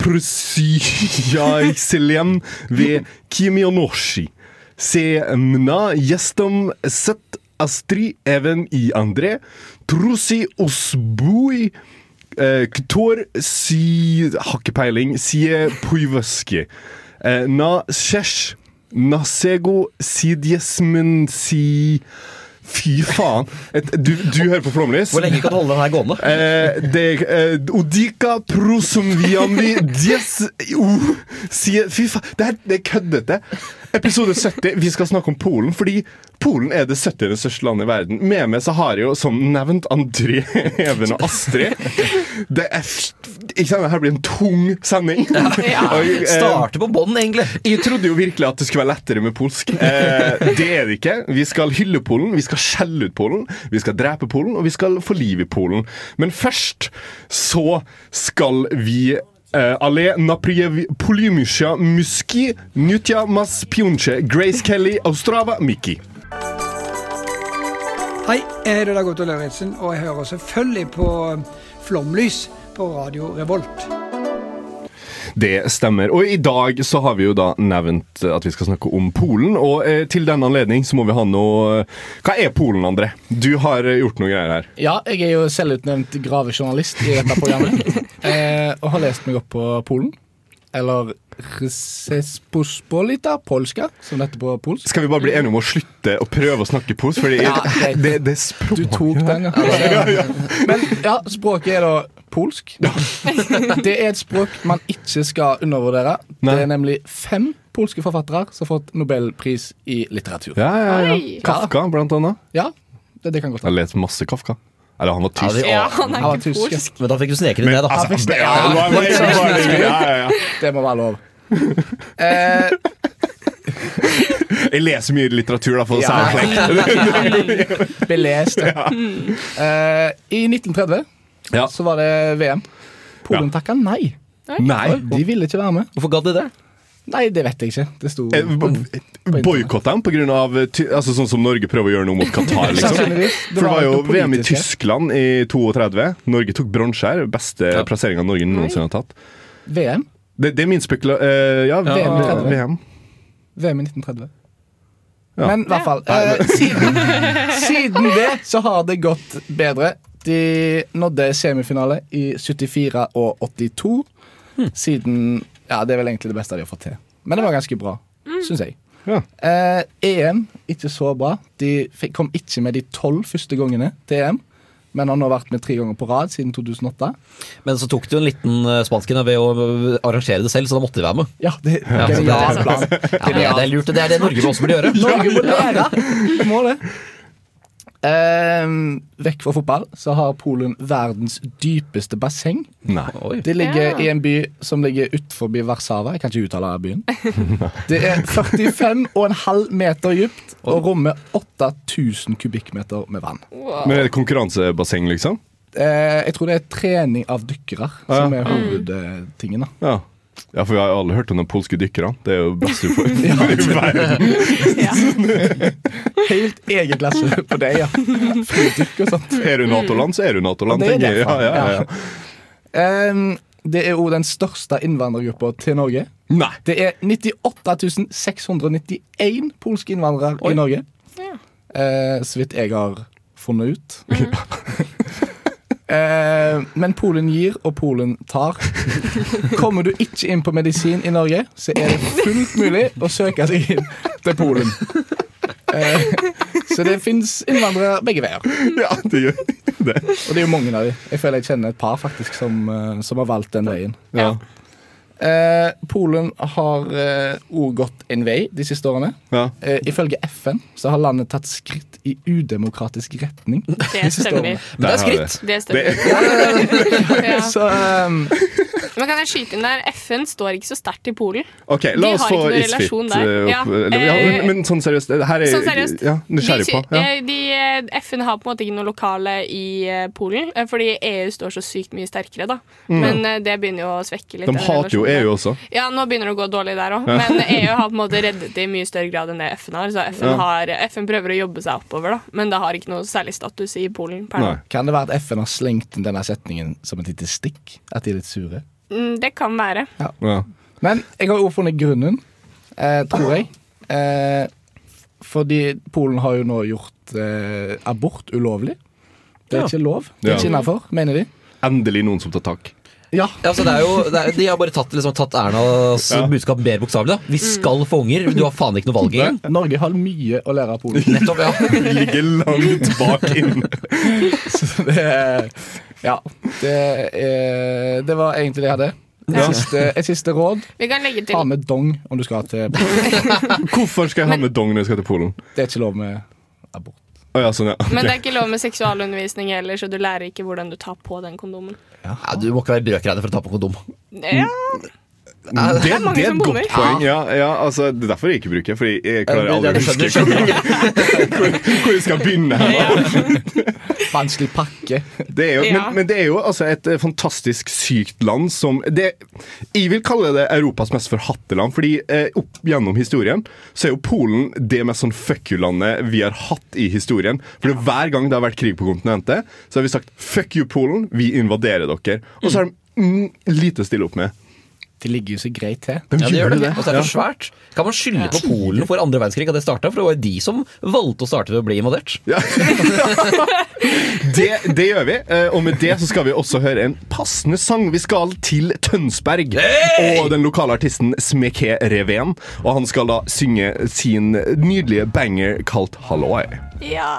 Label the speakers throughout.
Speaker 1: prusijaj selem ve kimionoshi. Se mna jestem set astri even i andre trusi osbui eh, Ktor si Har ikke peiling. Sie Pujvøski. Eh, na sjesh nasego sidjesmen si Fy faen. Et, du, du hører på Flåmlys?
Speaker 2: Hvor lenge kan du holde den her gående?
Speaker 1: Eh, det, eh, odika prosumvianvi dies o sie, Fy faen, det, er- det er køddete. Episode 70. Vi skal snakke om Polen, fordi Polen er det 70. største landet i verden. Med meg så har jeg jo som nevnt André, Even og Astrid. Det er f- Ikke sant, det her blir en tung sending. Og, eh,
Speaker 2: Starte på bånn, egentlig.
Speaker 1: jeg trodde jo virkelig at det skulle være lettere med polsk. Eh, det er det ikke. Vi skal hylle Polen, vi skal skjelle ut Polen, vi skal drepe Polen, og vi skal få liv i Polen. Men først så skal vi eh, Ale napriev polymysja muski nutja mas pionche Grace Kelly Austrava Miki.
Speaker 3: Hei, jeg heter Dag Otto Lauritzen, og jeg hører selvfølgelig på Flomlys på Radio Revolt.
Speaker 1: Det stemmer. Og i dag så har vi jo da nevnt at vi skal snakke om Polen. Og eh, til denne anledning så må vi ha noe eh, Hva er Polen, André? Du har eh, gjort noe greier her.
Speaker 4: Ja, jeg er jo selvutnevnt gravejournalist i dette programmet. eh, og har lest meg opp på Polen. Eller Rzespospolita polska, som dette på polsk.
Speaker 1: Skal vi bare bli enige om å slutte å prøve å snakke polsk? Fordi
Speaker 4: Ja,
Speaker 1: det,
Speaker 4: greit.
Speaker 1: det, det er språk
Speaker 4: Du tok den, ja. Men ja, språket er da polsk. Det er et språk man ikke skal undervurdere. Det
Speaker 1: Nei.
Speaker 4: er nemlig fem polske forfattere som har fått nobelpris i litteratur.
Speaker 1: ja, ja, ja.
Speaker 5: Oi.
Speaker 1: Kafka, blant annet.
Speaker 4: Ja, det, det kan godt
Speaker 1: Jeg
Speaker 4: være.
Speaker 1: har lest masse Kafka. Eller han var tysk.
Speaker 2: det-
Speaker 5: Ja, han er
Speaker 4: Han var
Speaker 5: ikke
Speaker 4: tysk, ja.
Speaker 5: polsk.
Speaker 2: Men da fikk du sneke det ned, da.
Speaker 1: Altså, det- ja, det var- det var bare- ja, ja, ja.
Speaker 4: Det må være lov. Eh,
Speaker 1: Jeg leser mye litteratur, da, for å si
Speaker 4: Ja.
Speaker 1: det slik.
Speaker 4: Belest. Ja. Eh, I 1930
Speaker 1: Ja.
Speaker 4: så var det VM. Polen takka nei.
Speaker 1: Nei.
Speaker 4: De ville ikke være med.
Speaker 2: Hvorfor gadd de det?
Speaker 4: Nei, det vet jeg ikke. Det sto
Speaker 1: Eh, Boikotta dem pga. Altså, sånn som Norge prøver å gjøre noe mot Qatar, liksom?
Speaker 4: Sannsynligvis.
Speaker 1: For det var jo
Speaker 4: noe
Speaker 1: VM i
Speaker 4: politisk her.
Speaker 1: Tyskland i 32. Norge tok bronse her. Beste
Speaker 2: Ja.
Speaker 1: plasseringa Norge noensinne har tatt.
Speaker 4: VM?
Speaker 1: Det, det er min spekula... eh, ja, VM.
Speaker 4: Ja.
Speaker 1: VM.
Speaker 4: VM i 1930.
Speaker 1: Ja.
Speaker 4: Men i hvert fall eh, siden, siden det så har det gått bedre. De nådde semifinale i 74 og 82. Siden Ja, det er vel egentlig det beste de har fått til. Men det var ganske bra, syns jeg.
Speaker 1: Ja.
Speaker 4: Eh, EM ikke så bra. De fikk, kom ikke med de tolv første gangene til EM, men har nå vært med tre ganger på rad siden 2008.
Speaker 2: Men så tok du en liten eh, spansken ved å eh, arrangere det selv, så da måtte de være med.
Speaker 4: Ja, det
Speaker 2: Ja, så det
Speaker 4: er genial
Speaker 2: er-
Speaker 4: plan.
Speaker 2: Ja, det, er lurt, det er det Norge også burde gjøre.
Speaker 4: Norge må lære! Vi Må det. Ehm, vekk fra fotball så har Polen verdens dypeste basseng.
Speaker 1: Nei.
Speaker 2: Oi.
Speaker 4: Det ligger
Speaker 5: Ja.
Speaker 4: i en by som ligger utenfor Warszawa. Jeg kan ikke uttale byen. Det er 45,5 meter dypt og rommer 8000 kubikkmeter med vann.
Speaker 5: Wow.
Speaker 1: Men er det konkurransebasseng, liksom?
Speaker 4: Eh, jeg tror det er trening av dykkere som er hovedtingen. da.
Speaker 1: Ja. ja, for vi har jo alle hørt om de polske dykkerne. Det er jo best du får. ja,
Speaker 4: Helt egen klasse på det, ja. Fridykk og sånt.
Speaker 1: er du Nato-land, så er du Nato-land,
Speaker 4: Det er
Speaker 1: tenker jeg. Ja,
Speaker 4: derfor.
Speaker 1: ja, ja.
Speaker 4: Ehm, det er jo den største innvandrergruppa til Norge.
Speaker 1: Nei.
Speaker 4: Det er 98 691 polske innvandrere i Norge. Eh, så vidt jeg har funnet ut. eh, men Polen gir, og Polen tar. Kommer du ikke inn på medisin i Norge, så er det fullt mulig å søke seg inn til Polen. Eh, så det fins innvandrere begge veier.
Speaker 1: Ja, det gjør det. det.
Speaker 4: Og det er jo mange av de. Jeg føler jeg kjenner et par faktisk som, eh, som har valgt den veien.
Speaker 1: Ja.
Speaker 4: Eh, Polen har eh, også gått en vei de siste årene.
Speaker 1: Ja.
Speaker 4: Eh, ifølge FN så har landet tatt skritt i udemokratisk retning.
Speaker 5: Det
Speaker 2: Men
Speaker 5: stemmer.
Speaker 2: det
Speaker 1: Der
Speaker 2: er
Speaker 1: har vi
Speaker 2: skritt.
Speaker 1: det.
Speaker 5: Det stemmer. Ja.
Speaker 4: Så ehm,
Speaker 5: Men kan jeg skyte inn der? FN står ikke så sterkt i Polen.
Speaker 1: OK,
Speaker 5: De
Speaker 1: la oss
Speaker 5: har
Speaker 1: få
Speaker 5: ikke noe
Speaker 1: Isfit
Speaker 5: relasjon
Speaker 1: opp.
Speaker 5: der. Ja,
Speaker 1: eller- ja,
Speaker 5: eh,
Speaker 1: men, men sånn seriøst, det her er
Speaker 5: Sånn seriøst.
Speaker 1: ja, nysgjerrig
Speaker 5: De-
Speaker 1: på. Ja.
Speaker 5: eh, de, eh, FN har på en måte ikke noe lokale i eh, Polen, eh, fordi EU står så sykt mye sterkere, da. Men eh, det begynner jo å svekke litt.
Speaker 1: Mm. De
Speaker 5: den
Speaker 1: hater jo
Speaker 5: relasjonen.
Speaker 1: EU også.
Speaker 5: Ja, nå begynner det å gå dårlig der òg, men EU har på en måte reddet det i mye større grad enn det FN har. Så FN,
Speaker 1: Ja.
Speaker 5: har, eh, FN prøver å jobbe seg oppover, da, men det har ikke noe særlig status i Polen per nå.
Speaker 1: Nei.
Speaker 4: kan det være at FN har slengt inn denne setningen som et lite stikk? At de er litt sure?
Speaker 5: Mm, Det kan være.
Speaker 1: Ja.
Speaker 4: Men jeg har jo funnet grunnen, eh, tror jeg. Eh, fordi Polen har jo nå gjort eh, abort ulovlig. Det er
Speaker 2: Ja.
Speaker 4: ikke lov. Det er
Speaker 1: Ja.
Speaker 4: ikke innafor, mener de.
Speaker 1: Endelig noen som tar tak.
Speaker 4: Ja,
Speaker 2: Ja, altså det er jo, det er, de har bare tatt, liksom, tatt Ernas
Speaker 1: Ja.
Speaker 2: budskap mer bokstavelig. da. Vi skal få unger. Du har faen ikke noe valg igjen.
Speaker 4: Norge har mye å lære av Polen.
Speaker 2: Nettopp, ja.
Speaker 1: Ligger langt bak inn.
Speaker 4: Så det Ja. Det, er, det var egentlig det jeg hadde. Et, siste, et siste råd.
Speaker 5: Vi kan legge
Speaker 4: Ta
Speaker 5: til
Speaker 4: med dong om du skal til
Speaker 1: Hvorfor skal jeg ha med dong når jeg skal til Polen?
Speaker 4: Det er ikke lov med abort.
Speaker 1: Å ja, sånn, ja.
Speaker 5: Men det
Speaker 1: Ok.
Speaker 5: er ikke lov med seksualundervisning heller, så du lærer ikke hvordan du tar på den kondomen.
Speaker 2: ja. Du må ikke være brøkreine for å ta på kondom.
Speaker 1: Mm.
Speaker 5: Ja,
Speaker 1: Det, det
Speaker 5: er mange
Speaker 1: er et
Speaker 5: som bommer.
Speaker 1: godt poeng. Ja, ja, altså, det er derfor jeg ikke bruker, fordi jeg klarer
Speaker 2: Ja,
Speaker 1: aldri
Speaker 2: du
Speaker 1: å huske
Speaker 2: skjønner, skjønner.
Speaker 1: hvor jeg skal begynne. her.
Speaker 4: Vanskelig pakke.
Speaker 1: Det er jo,
Speaker 5: Ja.
Speaker 1: men, men det er jo altså et eh, fantastisk sykt land som det, Jeg vil kalle det Europas mest forhatte land, fordi eh, opp gjennom historien så er jo Polen det mest sånn fuck you-landet vi har hatt i historien. For det, hver gang det har vært krig på kontinentet, så har vi sagt fuck you, Polen, vi invaderer dere. Og så har de mm, lite å stille opp med.
Speaker 4: Det ligger jo så greit til.
Speaker 1: De
Speaker 2: Ja, det gjør
Speaker 1: gjør
Speaker 2: det.
Speaker 1: det.
Speaker 2: Og så er det for svært. Kan man skylde på Polen for andre verdenskrig at det starta? For det var jo de som valgte å starte ved å bli invadert.
Speaker 1: Det, det gjør vi, eh, og med det så skal vi også høre en passende sang. Vi skal til Tønsberg og den lokale artisten Smeke Reven. Og han skal da synge sin nydelige banger kalt Halloi.
Speaker 5: ja.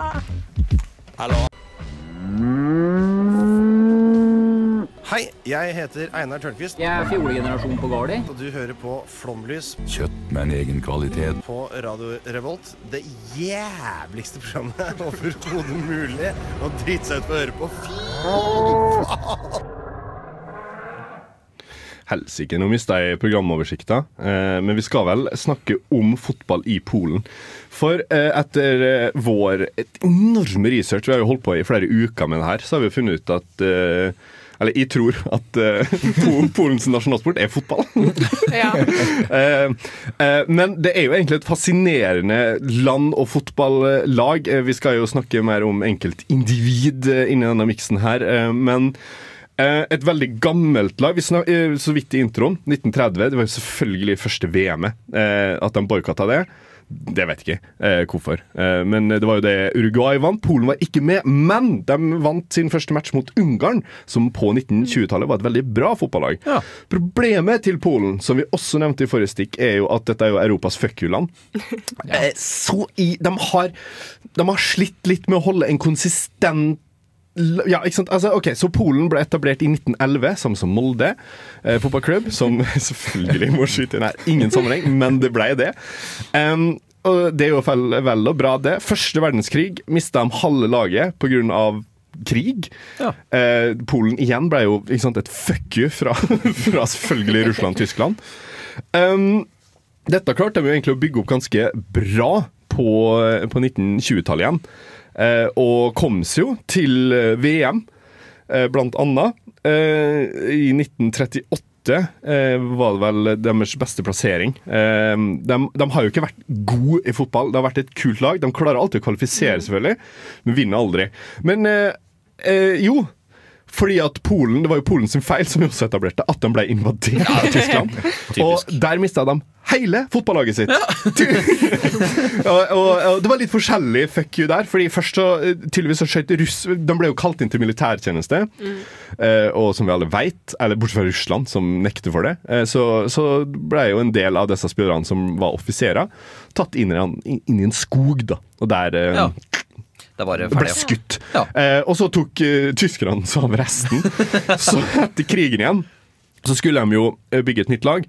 Speaker 6: Hei, jeg heter Einar Tørnquist,
Speaker 7: Jeg er fjolegenerasjon på Gardi.
Speaker 6: og du hører på Flomlys
Speaker 8: Kjøtt med en egen kvalitet.
Speaker 6: på Radio Revolt. Det jævligste programmet overhodet mulig å drite seg ut på å høre på.
Speaker 1: Helsike, nå mista jeg programoversikta, eh, men vi skal vel snakke om fotball i Polen. For eh, etter eh, vår et enorme research, vi har jo holdt på i flere uker med det her, så har vi funnet ut at eh, Eller jeg tror at eh, Polen- Polens nasjonalsport er fotball.
Speaker 5: ja.
Speaker 1: Eh, eh, men det er jo egentlig et fascinerende land- og fotballag. Eh, Vi skal jo snakke mer om enkeltindivid eh, inni denne miksen her, eh, men eh, et veldig gammelt lag. Vi snak, eh, så vidt i introen. 1930. Det var jo selvfølgelig første VM-et. eh, At de boikotta det. Det vet jeg ikke eh, hvorfor. Eh, men det var jo det Uruguay vant. Polen var ikke med, men de vant sin første match mot Ungarn, som på 1920-tallet var et veldig bra fotballag. Problemet til Polen, som vi også nevnte i forrige stikk, er jo at dette er jo Europas fuck you-land. Eh, så i de har, de har slitt litt med å holde en konsistent l- ja, ikke sant? Altså, ok, Så Polen ble etablert i 1911, samme som Molde eh, fotballklubb. Som selvfølgelig må skyte inn her, ingen sammenheng, men det ble det. Em, og Det er jo vel, vel og bra, det. Første verdenskrig mista de halve laget pga. krig. Eh, Polen igjen ble jo ikke sant, et fuck you fra, fra selvfølgelig Russland og Tyskland. Em, dette klarte de jo egentlig å bygge opp ganske bra på, på 1920-tallet igjen. Eh, og kom seg jo til eh, VM, eh, blant annet. Eh, I 1938 eh, var det vel deres beste plassering. Eh, de, de har jo ikke vært gode i fotball. Det har vært et kult lag. De klarer alltid å kvalifisere, selvfølgelig, men vinner aldri. Men eh, eh, jo fordi at Polen, Det var jo Polen sin feil som også etablerte at de ble invadert av Tyskland. og der mista de hele fotballaget sitt. og, og, og Det var litt forskjellig fuck you der. fordi først så eh, tydeligvis så skjøt russ... De ble jo kalt inn til militærtjeneste. Eh, og som vi alle veit, eller bortsett fra Russland, som nekter for det, eh, så, så ble jo en del av disse spionerne som var offiserer, tatt inn i, en- inn i en skog, da. Og der eh,
Speaker 2: Ja. Det er bare
Speaker 1: Det ble
Speaker 2: ferdig.
Speaker 1: skutt. Eh, og så tok eh, tyskerne seg av resten. så etter krigen igjen så skulle de jo eh, bygge et nytt lag.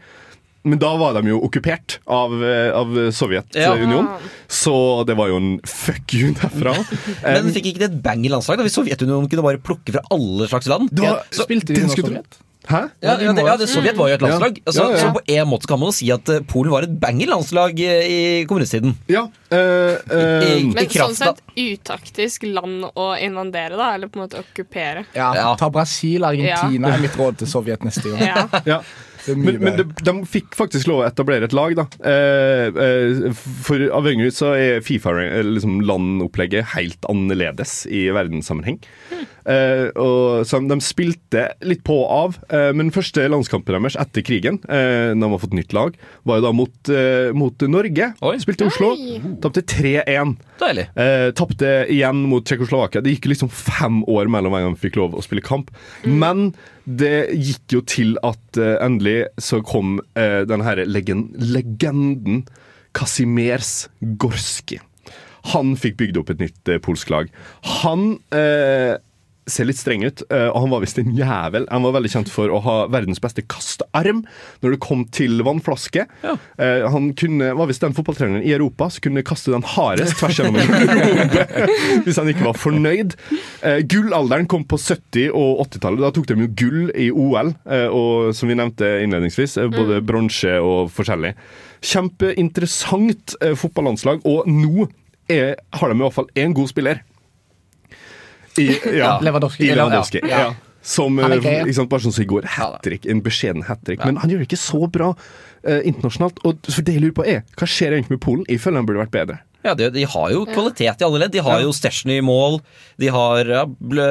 Speaker 1: Men da var de jo okkupert av, eh, av
Speaker 2: Ja.
Speaker 1: Sovjetunionen, så det var jo en fuck you derfra. Eh,
Speaker 2: Men fikk ikke det et bang i landslag? da? Hvis Sovjetunionen kunne bare plukke fra alle slags land?
Speaker 1: Det var-
Speaker 4: Spilte
Speaker 1: det
Speaker 4: de nå
Speaker 1: skulle-
Speaker 4: Sovjet?
Speaker 1: Hæ?
Speaker 2: Ja, ja, det, ja det, Sovjet var jo et landslag.
Speaker 1: Ja.
Speaker 2: Altså,
Speaker 1: Ja, ja, ja.
Speaker 2: Så på en måte kan man jo si at eh, Polen var et banger landslag eh, i kommunisttiden.
Speaker 1: Ja. eh,
Speaker 2: I, i
Speaker 5: Men sånn
Speaker 2: kraft av
Speaker 5: sett utaktisk land å invadere, da. Eller på en måte okkupere.
Speaker 4: Ja,
Speaker 2: Ja.
Speaker 4: Ta Brasil, Argentina
Speaker 1: Ja.
Speaker 4: er mitt råd til Sovjet neste gang.
Speaker 5: Ja.
Speaker 1: Ja.
Speaker 4: Det er mye
Speaker 1: Men, men de,
Speaker 4: bedre.
Speaker 1: de fikk faktisk lov å etablere et lag, da. Eh, eh, for avhengig så er Fifa eh, liksom landopplegget helt annerledes i verdenssammenheng. Eh, og så de spilte litt på og av, eh, men første landskampen deres etter krigen, eh, når de har fått nytt lag, var jo da mot, eh, mot Norge.
Speaker 2: Oi.
Speaker 1: Spilte i Oslo.
Speaker 5: Oi.
Speaker 1: Tapte 3-1.
Speaker 2: Deilig.
Speaker 1: Eh, Tapte igjen mot Tsjekkoslovakia. Det gikk liksom fem år mellom hver gang vi fikk lov å spille kamp. Men det gikk jo til at eh, endelig så kom eh, den herre legen legenden Kasimers Gorski. Han fikk bygd opp et nytt eh, polsk lag. Han eh, ser litt streng ut, eh, og han var visst en jævel. Han var veldig kjent for å ha verdens beste kastearm når det kom til vannflaske. Eh, han kunne, var visst den fotballtreneren i Europa som kunne kaste den hardest tvers gjennom en garderobe hvis han ikke var fornøyd. Eh, gullalderen kom på 70- og 80-tallet. Da tok de jo gull i OL, eh, og som vi nevnte innledningsvis, eh,
Speaker 4: Mm.
Speaker 1: både bronse og forskjellig. Kjempeinteressant eh, fotballandslag, og nå er, har de i hvert fall én god spiller. I, ja,
Speaker 4: Lewandowski.
Speaker 1: I Lewandowski.
Speaker 4: Ja.
Speaker 1: Ja. Som
Speaker 4: Han er
Speaker 1: eh,
Speaker 4: grei.
Speaker 1: ikke sant, bare sånn som i går. Hattrick, En beskjeden hat trick. Men han gjør det ikke så bra eh, internasjonalt. Og for det jeg lurer på er, Hva skjer egentlig med Polen? Jeg føler han burde vært bedre.
Speaker 2: Ja, det, De har jo kvalitet i alle ledd. De har jo Stashen i mål. De har ja, ble,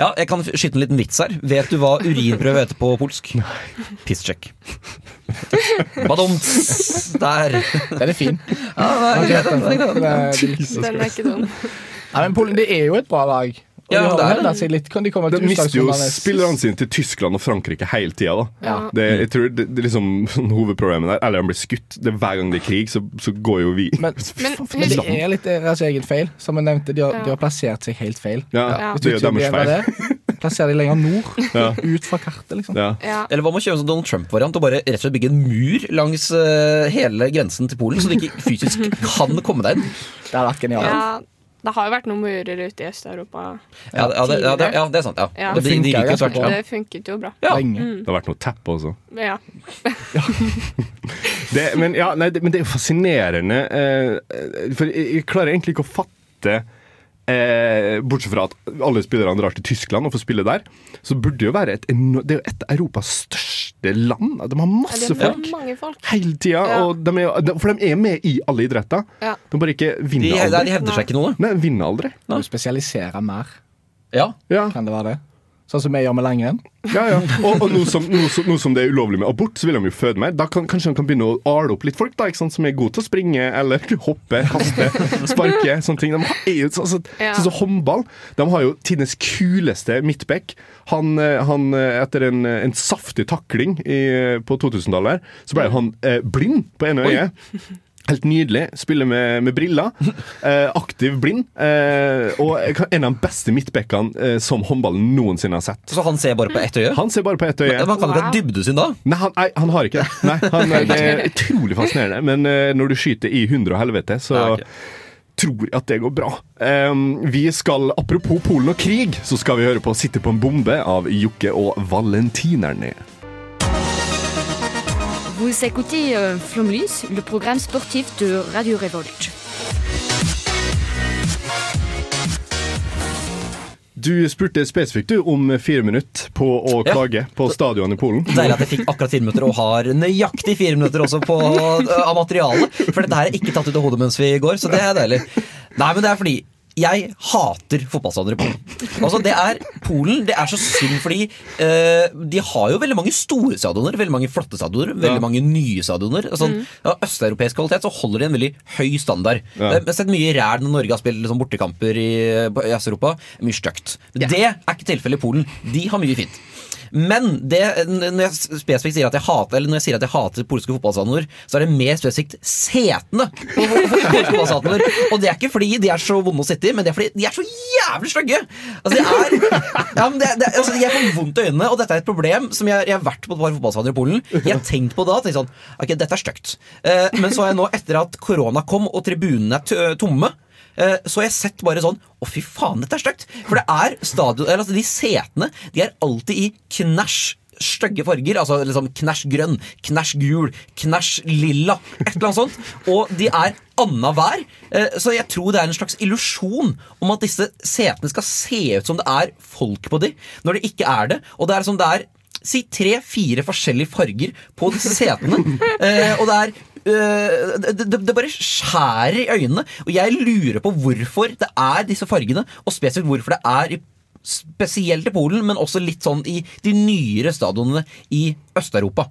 Speaker 2: ja, jeg kan skyte en liten vits her. Vet du hva urinprøve heter på polsk? Pisssjekk. Badumts! Der.
Speaker 4: Den er fin.
Speaker 2: Ja, det er greit, det er greit.
Speaker 4: Den er-
Speaker 5: Den er ikke dum.
Speaker 4: Nei, men Polen, det er jo et bra lag. Og
Speaker 2: Ja,
Speaker 4: de har
Speaker 2: det er
Speaker 4: jo vennet seg litt. Kan de komme
Speaker 1: De
Speaker 4: til
Speaker 1: mister jo
Speaker 4: utslagsrundene?
Speaker 1: spillerne sine til Tyskland og Frankrike hele tida.
Speaker 4: Ja.
Speaker 1: Det, jeg tror det, det er liksom hovedproblemet der. Eller han blir skutt. Det er Hver gang det er krig, så, så går jo vi
Speaker 4: Men-
Speaker 5: Men
Speaker 4: Men det
Speaker 5: husk,
Speaker 4: er litt deres egen feil. Som jeg nevnte, de har,
Speaker 5: Ja.
Speaker 4: de har plassert seg helt feil.
Speaker 1: Ja,
Speaker 5: Ja.
Speaker 1: Det er jo deres feil.
Speaker 4: Plasserer de lenger nord.
Speaker 1: Ja.
Speaker 4: Ut fra kartet, liksom.
Speaker 1: Ja.
Speaker 5: ja.
Speaker 2: Eller hva med å kjøre en sånn Donald Trump-variant og bare rett og slett bygge en mur langs eh, hele grensen til Polen, så du ikke fysisk kan komme deg inn?
Speaker 4: Det hadde vært genialt.
Speaker 5: ja. Det har jo vært noen murer ute i Øst-Europa.
Speaker 2: Ja, det- ja, det, ja, det, ja, det er sant. Ja.
Speaker 5: Ja.
Speaker 2: De, de ryker jo
Speaker 4: Det
Speaker 2: tvert.
Speaker 4: funker ganske bra.
Speaker 2: Ja.
Speaker 5: Det funket jo bra.
Speaker 2: Ja.
Speaker 4: Lenge.
Speaker 5: Mm.
Speaker 1: Det har vært noe teppe også.
Speaker 5: Ja.
Speaker 1: Det, men, ja, nei, det, men det er jo fascinerende, eh, for jeg, jeg klarer egentlig ikke å fatte Eh, bortsett fra at alle spillerne drar til Tyskland og får spille der, så burde det jo være et eno- Det er jo et av Europas største land. De har
Speaker 5: Ja,
Speaker 1: masse
Speaker 5: Det var
Speaker 1: folk
Speaker 5: mange folk.
Speaker 1: hele tida.
Speaker 5: Ja.
Speaker 1: og De er, de- for de er med i alle idretter.
Speaker 5: Ja.
Speaker 1: De bare ikke
Speaker 2: De,
Speaker 1: vinner
Speaker 2: de,
Speaker 1: aldri.
Speaker 2: de hevder seg ikke noe.
Speaker 1: Nei, vinner aldri.
Speaker 4: Du spesialiserer mer,
Speaker 2: Ja.
Speaker 1: Ja,
Speaker 4: kan det være det? Sånn som vi gjør med langrenn.
Speaker 1: ja, ja. Og, og nå, som, nå, som, nå som det er ulovlig med abort, så vil de jo føde mer. Da kan, kanskje de kan begynne å ale opp litt folk da, ikke sant? som er gode til å springe eller hoppe, kaste, sparke. sånne ting. De har, er jo, altså,
Speaker 5: Ja.
Speaker 1: Sånn som håndball. De har jo tidenes kuleste midtback. Han, eh, han, eh, etter en, eh, en saftig takling i, eh, på 2000-tallet, her, så ble han eh, blind på ene øyet. Helt nydelig. Spiller med, med briller. Eh, aktiv blind. Eh, og en av de beste midtbackene eh, som håndballen noensinne har sett.
Speaker 2: Så han ser bare på ett øye?
Speaker 1: Han ser bare på ett øye.
Speaker 2: Men Man kan ikke ha dybdesyn da?
Speaker 1: Nei han, nei, han har ikke det. Nei, han, eh, det er utrolig fascinerende. Men eh, når du skyter i hundre og helvete, så
Speaker 2: Ja, ok.
Speaker 1: tror jeg at det går bra. Em, vi skal, Apropos Polen og krig, så skal vi høre på 'Sitte på en bombe' av Jokke og Valentinerne.
Speaker 7: Vous écoutez euh, Flomlys, le programme sportif de Radio Revolt.
Speaker 1: Du spurte spesifikt du om fire minutter på å
Speaker 2: Ja.
Speaker 1: klage på stadion i Polen.
Speaker 2: Deilig at jeg fikk akkurat fire minutter, og har nøyaktig fire minutter også på, eh, av materialet. For dette her er ikke tatt ut av hodet mens vi går, så det er deilig. Nei, men det er fordi jeg hater fotballstadioner i Polen. Altså, det er Polen det er så synd fordi eh, de har jo veldig mange store stadioner, veldig mange flotte stadioner, veldig mange nye stadioner. Altså, av Østeuropeisk kvalitet så holder de en veldig høy standard.
Speaker 1: Ja.
Speaker 2: Jeg har sett mye ræl når Norge har spilt liksom, bortekamper i, på- i Øst-Europa. Mye stygt. Men Det er ikke tilfellet i Polen. De har mye fint. Men det, når jeg spesifikt sier at jeg hater Eller når jeg sier at jeg hater polske fotballstadioner, så er det mer spesifikt setene på fo- fo- polske fotballstadioner. Og det er ikke fordi de er så vonde å sitte i, men det er fordi de er så jævlig stygge! Altså, de er, ja, men det, det, altså, jeg får vondt i øynene, og dette er et problem som jeg, jeg har vært på et par fotballstadioner i Polen. Jeg har tenkt på det da, tenkt sånn Ok, dette er stygt. Eh, men så har jeg nå, etter at korona kom og tribunene er tø- tomme, Eh, Så har jeg sett bare sånn Å, fy faen, dette er stygt! For det er stadion eller, altså, De setene de er alltid i knæsj stygge farger. Altså liksom knæsj grønn, knæsj gul, knæsj lilla. Et eller annet sånt. Og de er annenhver. Eh, Så jeg tror det er en slags illusjon om at disse setene skal se ut som det er folk på de, når det ikke er det. Og det er som det er Si tre-fire forskjellige farger på disse setene. Eh, og det er eh, det, det, det bare skjærer i øynene. Og jeg lurer på hvorfor det er disse fargene, og spesielt hvorfor det er i spesielt i Polen, men også litt sånn i de nyere stadionene i Øst-Europa.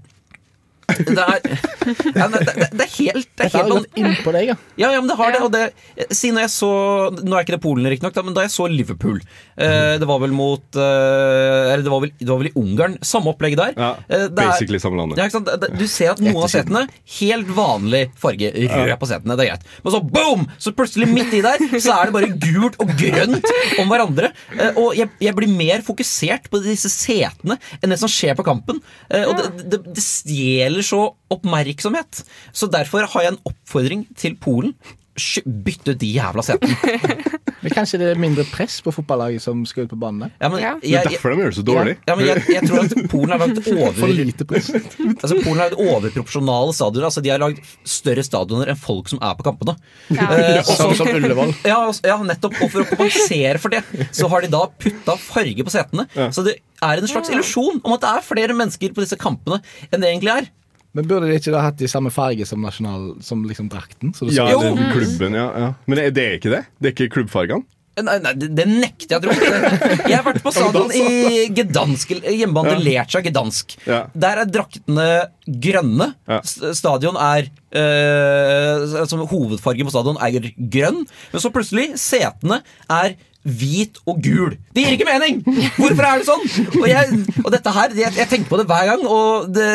Speaker 2: Det er, ja, det, det, det er helt Det er
Speaker 4: Dette har
Speaker 2: helt
Speaker 4: gått innpå deg, ja.
Speaker 2: ja, ja, men det har det. Og det si når jeg så Nå er ikke det Polen, riktignok, da, men da jeg så Liverpool eh, Det var vel mot eh, Eller det var vel, det var vel i Ungarn. Samme opplegg der.
Speaker 1: Ja,
Speaker 2: Eh, det er-
Speaker 1: basically samme landet.
Speaker 2: Ja, ikke sant? Det- det- Du ser at noen av setene Helt vanlig farge. Rød
Speaker 1: Ja.
Speaker 2: på setene, det er greit. Men så boom! Så plutselig midt i der Så er det bare gult og grønt om hverandre. Eh, Og jeg, jeg blir mer fokusert på disse setene enn det som skjer på kampen. Eh, Og det, det, det stjeler så oppmerksomhet. Så derfor har jeg en oppfordring til Polen. Sj- Bytt ut de jævla setene.
Speaker 4: Men kanskje det er mindre press på fotballaget som skal ut på banen der?
Speaker 2: Ja, men jeg-
Speaker 1: Det er derfor de gjør det så dårlig.
Speaker 2: Ja, men jeg, jeg tror at Polen har lagd
Speaker 4: For
Speaker 2: over
Speaker 4: lite press.
Speaker 2: Altså Polen har lagd overproporsjonale stadioner. Altså De har lagd større stadioner enn folk som er på kampene.
Speaker 5: Ja.
Speaker 2: Eh, og
Speaker 4: Sånn
Speaker 2: så-
Speaker 4: som Ullevål.
Speaker 2: Ja, og- ja, nettopp. Og for å kompensere for det, så har de da putta farge på setene. Så det er en slags illusjon om at det er flere mennesker på disse kampene enn det egentlig er.
Speaker 4: Men burde de ikke da hatt de samme farger som, nasjonal, som liksom drakten? Så du
Speaker 1: Ja,
Speaker 2: Jo.
Speaker 1: den klubben, ja, ja. Men det det er ikke det? Det er ikke klubbfargene?
Speaker 2: Nei, nei det, det nekter jeg å tro. Jeg har vært på stadion i Gdansk, hjemmebane til Lercha Gdansk.
Speaker 1: Ja.
Speaker 2: Der er draktene grønne.
Speaker 1: Ja.
Speaker 2: S- Stadion er eh, altså Hovedfargen på stadion er grønn, men så plutselig setene er Hvit og gul. Det gir ikke mening! Hvorfor er det sånn? Og, jeg, og dette her, jeg, jeg tenker på det hver gang, og det,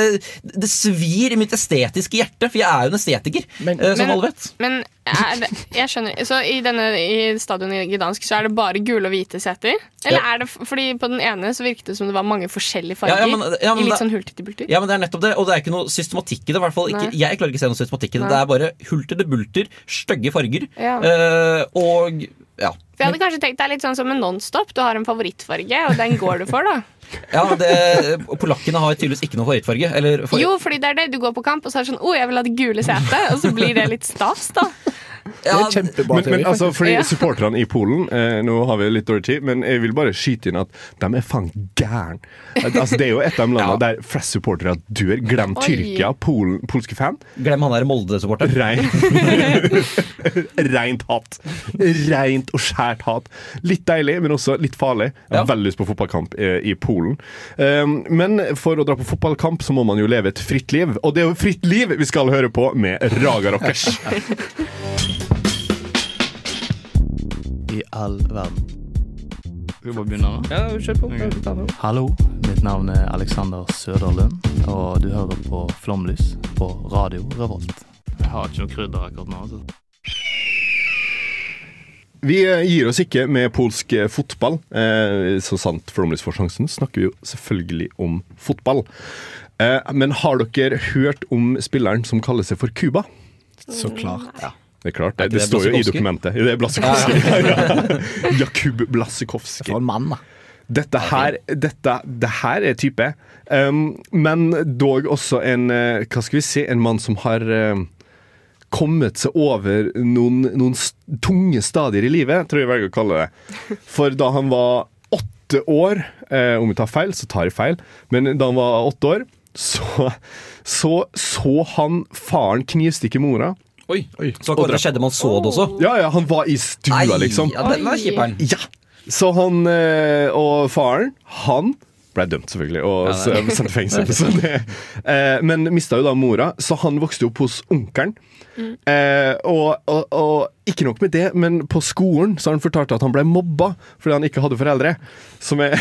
Speaker 2: det svir i mitt estetiske hjerte, for jeg er jo en estetiker,
Speaker 4: Men-
Speaker 2: eh, som
Speaker 5: Men-
Speaker 2: alle vet.
Speaker 5: Men er det, jeg skjønner Så i, denne, i stadionet i Gdansk så er det bare gule og hvite seter? Eller
Speaker 2: Ja.
Speaker 5: er det f- Fordi på den ene så virket det som det var mange forskjellige
Speaker 2: ja,
Speaker 5: farger.
Speaker 2: men- ja, men det-
Speaker 5: I litt sånn hultete-bulter.
Speaker 2: Ja, men det er nettopp det, og det er ikke noe systematikk i det. i hvert fall ikke,
Speaker 5: Nei.
Speaker 2: Jeg klarer ikke å se noe systematikk i det.
Speaker 5: Nei.
Speaker 2: Det er bare hulter til bulter, stygge farger.
Speaker 5: Ja.
Speaker 2: eh, og ja.
Speaker 5: For jeg hadde kanskje tenkt Det er litt sånn som med Nonstop. Du har en favorittfarge, og den går du for, da.
Speaker 2: ja det, polakkene har tydeligvis ikke noe favorittfarge. Eller for,
Speaker 5: Jo, fordi det er det. Du går på kamp, og så er det sånn Å, jeg vil ha det gule setet. Og så blir det litt stas, da.
Speaker 4: Det
Speaker 2: ja,
Speaker 4: er kjempebra
Speaker 1: Men, men
Speaker 4: teori.
Speaker 1: altså, fordi
Speaker 5: Ja.
Speaker 1: supporterne i Polen eh, Nå har vi litt dårlig tid, men jeg vil bare skyte inn at de er faen gæren. At, Altså, det er jo et av de landene der flest supportere dør. Glem
Speaker 5: Oi.
Speaker 1: Tyrkia, Polen, polske fan.
Speaker 2: glem han der Molde-supporteren.
Speaker 1: Reint Reint hat. Reint og skjært hat. Litt deilig, men også litt farlig. Jeg har
Speaker 2: Ja.
Speaker 1: veldig lyst på fotballkamp eh, i Polen. Um, men for å dra på fotballkamp, så må man jo leve et fritt liv. Og det er jo fritt liv vi skal høre på med Raga Rockers.
Speaker 9: i all verden. Skal vi bare begynne nå? Ja, kjør på. Hallo, mitt navn er Alexander Søderlund, og du hører på Flomlys på Radio Revolt. Jeg har ikke noe krydder akkurat nå. altså.
Speaker 1: Vi eh, gir oss ikke med polsk eh, fotball. Eh, Så sant Flomlys får sjansen, snakker vi jo selvfølgelig om fotball. Eh, Men har dere hørt om spilleren som kaller seg for Cuba?
Speaker 4: Så klart. Ja.
Speaker 1: Det er klart, det,
Speaker 2: ikke
Speaker 1: det,
Speaker 2: det
Speaker 1: står jo i
Speaker 2: Blasikowski?
Speaker 1: dokumentet. Det er Blasikowski. Ja, Jakub Blasikowski.
Speaker 4: For en mann, da.
Speaker 1: Dette her, dette, det her er type. Um, men dog også en eh, Hva skal vi si? En mann som har eh, kommet seg over noen, noen s- tunge stadier i livet, tror jeg jeg velger å kalle det. For da han var åtte år eh, Om jeg tar feil, så tar jeg feil. Men da han var åtte år, så så, så han faren knivstikke mora.
Speaker 2: Oi, Så akkurat det skjedde man så det også.
Speaker 1: Ja, ja, han var i stua,
Speaker 2: Nei,
Speaker 1: liksom.
Speaker 2: ja, den var kjiperen.
Speaker 1: Ja. Så han eh, og faren, han ble dømt selvfølgelig og
Speaker 2: Ja,
Speaker 1: s- sendt i fengsel. Så det, eh, men mista jo da mora, så han vokste opp hos onkelen. Eh, og, og, og Ikke nok med det, men på skolen så har han fortalt at han ble mobba fordi han ikke hadde foreldre. Som er,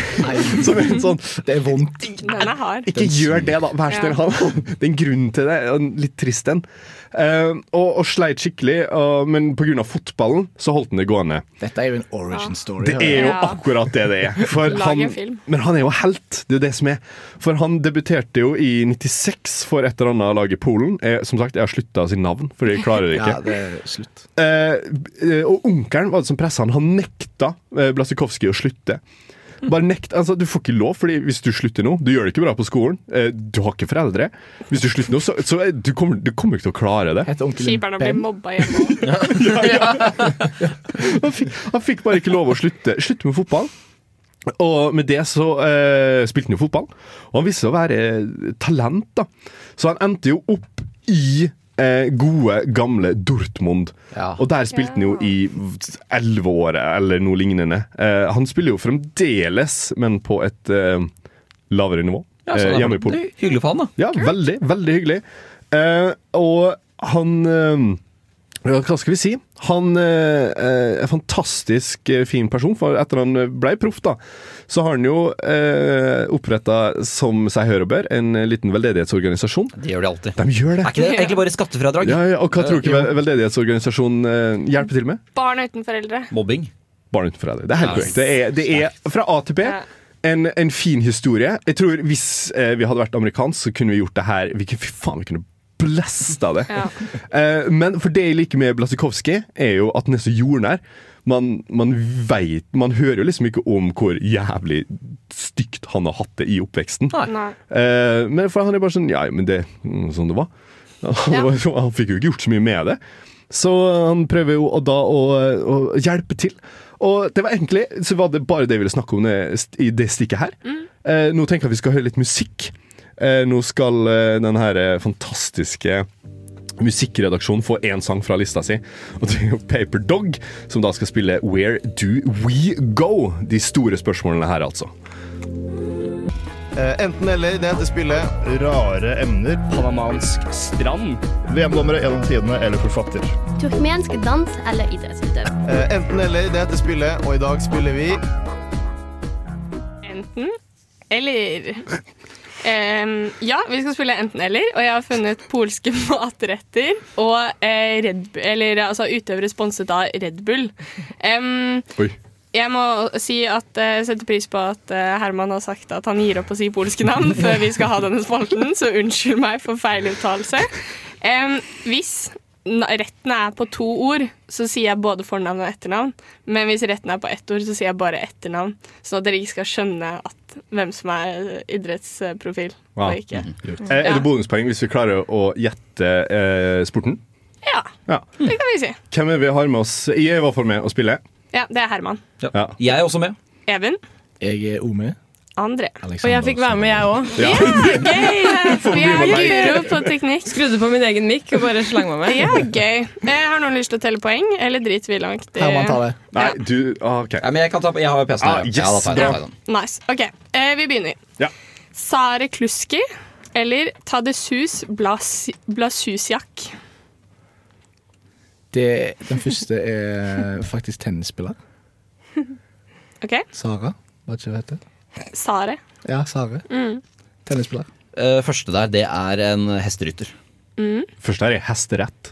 Speaker 1: som er en sånn Det er vondt.
Speaker 5: Den er hard.
Speaker 1: Ikke gjør det, da. Vær snill.
Speaker 5: Ja.
Speaker 1: han- Det er en grunn til det. En litt trist en. Eh, og, og sleit skikkelig, og, men pga. fotballen så holdt han det gående.
Speaker 4: Dette er jo en origin story.
Speaker 1: Det er jo
Speaker 4: Ja.
Speaker 1: akkurat det det er. For
Speaker 4: Lag en
Speaker 1: han,
Speaker 4: film.
Speaker 1: men han er jo helt. Det er jo det som er. For han debuterte jo i 96 for et eller annet lag i Polen. Jeg, som sagt, jeg har slutta å si navn, for jeg klarer det ikke.
Speaker 4: Ja, det er slutt.
Speaker 1: Eh, og onkelen var det som pressa han. Han nekta eh, Blasikowski å slutte. Bare nekt, altså Du får ikke lov, Fordi hvis du slutter nå Du gjør det ikke bra på skolen. eh, du har ikke foreldre. Hvis du slutter nå, så, så eh, du kommer du kommer ikke til å klare det.
Speaker 5: Kjiperen å bli mobba hjemme.
Speaker 1: Han fikk, han fikk bare ikke lov å slutte, slutte med fotball. Og med det så eh, spilte han jo fotball, og han viste seg å være eh, talent, da. Så han endte jo opp i eh, gode, gamle Dortmund. Og der spilte han jo i elleve år, eller noe lignende. Eh, han spiller jo fremdeles, men på et eh, lavere nivå.
Speaker 2: Ja, så
Speaker 1: eh,
Speaker 2: det er
Speaker 1: hjemme i
Speaker 2: vel-
Speaker 1: Polen.
Speaker 2: det er hyggelig for han, da.
Speaker 1: Ja, veldig, veldig hyggelig. Eh, og han eh, ja, Hva skal vi si? Han eh, er en fantastisk eh, fin person, for etter han ble proff, da, så har han jo eh, oppretta, som seg hør og bør, en liten veldedighetsorganisasjon.
Speaker 2: De gjør det alltid.
Speaker 1: De gjør det.
Speaker 2: Er ikke det egentlig bare skattefradrag?
Speaker 1: Ja, ja, og hva tror du ikke
Speaker 2: Eh,
Speaker 1: vel- veldedighetsorganisasjonen eh, hjelper til med?
Speaker 5: Barn uten foreldre.
Speaker 2: Mobbing.
Speaker 1: Barn utenfor deg. Det er helt
Speaker 2: Ja.
Speaker 1: korrekt. Det er, det er fra A til B. En, en fin historie. Jeg tror Hvis eh, vi hadde vært amerikansk, så kunne vi gjort det her. Vi, kunne- fy faen, vi kunne blæst av det. Eh, men for det jeg liker med Blasikowski, er jo at den er så jordnær. Man, man vet, man hører jo liksom ikke om hvor jævlig stygt han har hatt det i oppveksten.
Speaker 5: Nei.
Speaker 1: Eh, men for han er bare sånn Ja, men det mm, sånn det var. Han, var, han fikk jo ikke gjort så mye med det. Så han prøver jo å da å, å hjelpe til. Og det var egentlig så var det bare det jeg ville snakke om det- i det stikket her. Eh, nå tenker jeg at vi skal høre litt musikk. Eh, nå skal eh, den her eh, fantastiske musikkredaksjonen få én sang fra lista si. Og det er jo Paper Dog som da skal spille Where Do We Go? De store spørsmålene her, altså.
Speaker 10: Eh, Enten eller, det heter spillet Rare emner. Panamansk strand. VM-dommere gjennom tidene eller forfatter.
Speaker 7: Turkmensk dans eller idrettsutøver.
Speaker 10: Eh, Enten eller, det heter spillet, og i dag spiller vi
Speaker 5: Enten eller. Ehm, ja, vi skal spille enten eller, og jeg har funnet polske matretter og eh, Red Bull, eller altså utøvere sponset av Red Bull. Ehm,
Speaker 1: Oi.
Speaker 5: jeg må si at eh, setter pris på at eh, Herman har sagt at han gir opp å si polske navn før vi skal ha denne spalten, så unnskyld meg for feiluttalelse. Em, hvis na- rettene er på to ord, så sier jeg både fornavn og etternavn. Men hvis retten er på ett ord, så sier jeg bare etternavn. Sånn at dere ikke skal skjønne at, hvem som er eh, idrettsprofil
Speaker 1: Wow.
Speaker 5: og ikke.
Speaker 1: Eh, Er det bonuspoeng hvis vi klarer å gjette eh, sporten?
Speaker 5: Ja,
Speaker 1: Ja.
Speaker 5: det kan vi si.
Speaker 1: Hvem er vi har med oss? Jeg er i hvert fall med å spille.
Speaker 5: Ja, det er Herman.
Speaker 1: Ja.
Speaker 2: Jeg er også med.
Speaker 5: Even.
Speaker 4: Jeg er Ome.
Speaker 5: André.
Speaker 4: Alexander
Speaker 11: og jeg fikk være med, jeg òg.
Speaker 4: Ja.
Speaker 5: Gøy! Vi er
Speaker 11: bli med meg.
Speaker 5: guro på teknikk.
Speaker 11: Skrudde på min egen mikk og bare slang meg med.
Speaker 5: Ja, gøy. Eh, har noen lyst til å telle poeng, eller driter vi langt? i-
Speaker 1: Nei, du ah, OK.
Speaker 2: Ja, men jeg, kan ta, jeg har jo PC-en.
Speaker 1: Ah,
Speaker 2: her.
Speaker 1: yes,
Speaker 2: ja, da tar jeg den,
Speaker 1: bra.
Speaker 2: tar jeg den.
Speaker 5: Nice. OK, eh, vi begynner.
Speaker 1: Ja.
Speaker 5: Sare Kluski eller Tadesus Blas Blasusiak.
Speaker 4: Det, den første er faktisk tennisspiller.
Speaker 5: OK?
Speaker 4: Sara, hva ikke hun heter?
Speaker 5: Sare.
Speaker 4: Ja, Sare.
Speaker 5: Mm.
Speaker 4: Tennisspiller.
Speaker 2: Eh, første der, det er en hesterytter.
Speaker 5: Mm.
Speaker 1: Første her er hesterett.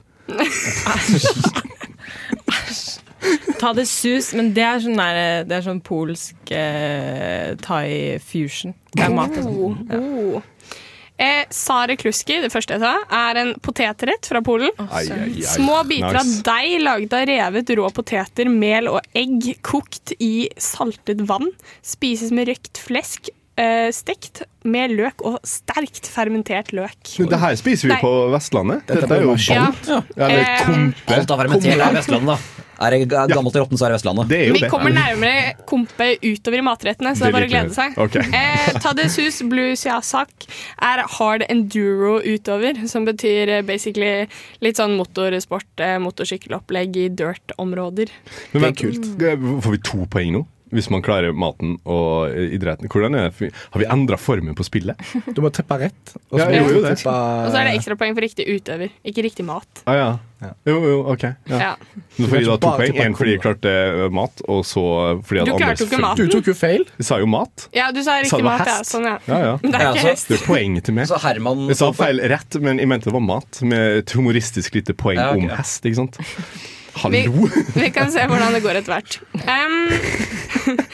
Speaker 11: Ta det sus, men det er sånn, der, det er sånn polsk eh, thai fusion. Det er mat og sånn.
Speaker 5: Oh, oh. Eh, Sare Kluski, det første jeg sa, er en potetrett fra Polen.
Speaker 1: Ai, ai, ai.
Speaker 5: Små biter
Speaker 1: Nice.
Speaker 5: av deig laget av revet rå poteter, mel og egg, kokt i saltet vann. Spises med røkt flesk, eh, stekt med løk og sterkt fermentert løk.
Speaker 1: Men det her spiser vi
Speaker 5: Nei.
Speaker 1: på Vestlandet.
Speaker 2: Dette
Speaker 1: Dette er jo
Speaker 2: blir
Speaker 5: Ja.
Speaker 1: balt. Eller
Speaker 5: Eh,
Speaker 1: kompe.
Speaker 2: Alt av fermentert
Speaker 1: Kompe.
Speaker 2: er Vestlandet, da. Er det ga- gammelt i rotten, så er det Vestlandet.
Speaker 1: Det
Speaker 5: Vi kommer nærmere kompe utover i matrettene, så det
Speaker 2: Det
Speaker 5: er bare å
Speaker 2: liker jeg.
Speaker 5: glede seg.
Speaker 2: Ok.
Speaker 5: eh, Tadesus Blusiasak er hard enduro utover, som betyr eh, basically litt sånn motorsport, eh, motorsykkelopplegg i dirt-områder.
Speaker 1: Men vent, eh, får vi to poeng nå? hvis man klarer maten og eh, idretten. Hvordan er det? Har vi endra formen på spillet?
Speaker 4: Du må tippe rett.
Speaker 1: Ja,
Speaker 5: må
Speaker 1: jeg
Speaker 5: du
Speaker 1: gjorde jo det.
Speaker 5: Og så er det
Speaker 4: Eh.
Speaker 5: ekstrapoeng for riktig utøver, ikke riktig mat.
Speaker 1: Ah, ja. Jo, jo, ok.
Speaker 5: Ja.
Speaker 1: Du får gi da to
Speaker 4: Bare
Speaker 1: poeng.
Speaker 4: til
Speaker 1: Én fordi jeg klarte eh, mat, og så fordi at
Speaker 5: Du klarte
Speaker 1: Anders
Speaker 5: jo ikke
Speaker 1: følte-
Speaker 5: maten. Du tok
Speaker 4: jo feil.
Speaker 1: Jeg sa jo mat.
Speaker 5: Ja, du sa
Speaker 1: Jeg
Speaker 5: riktig
Speaker 1: det var
Speaker 5: mat, ja.
Speaker 1: hest.
Speaker 5: Sånn, ja.
Speaker 1: Ja, ja.
Speaker 5: Men det er
Speaker 2: altså,
Speaker 5: ikke hest.
Speaker 1: Det er poenget til meg. jeg sa feil rett, men jeg mente det var mat, med et humoristisk lite poeng
Speaker 5: Ja, ok,
Speaker 1: om
Speaker 5: ja.
Speaker 1: hest. ikke sant?
Speaker 5: Vi,
Speaker 1: Hallo!
Speaker 5: vi kan se hvordan det går etter hvert. Em,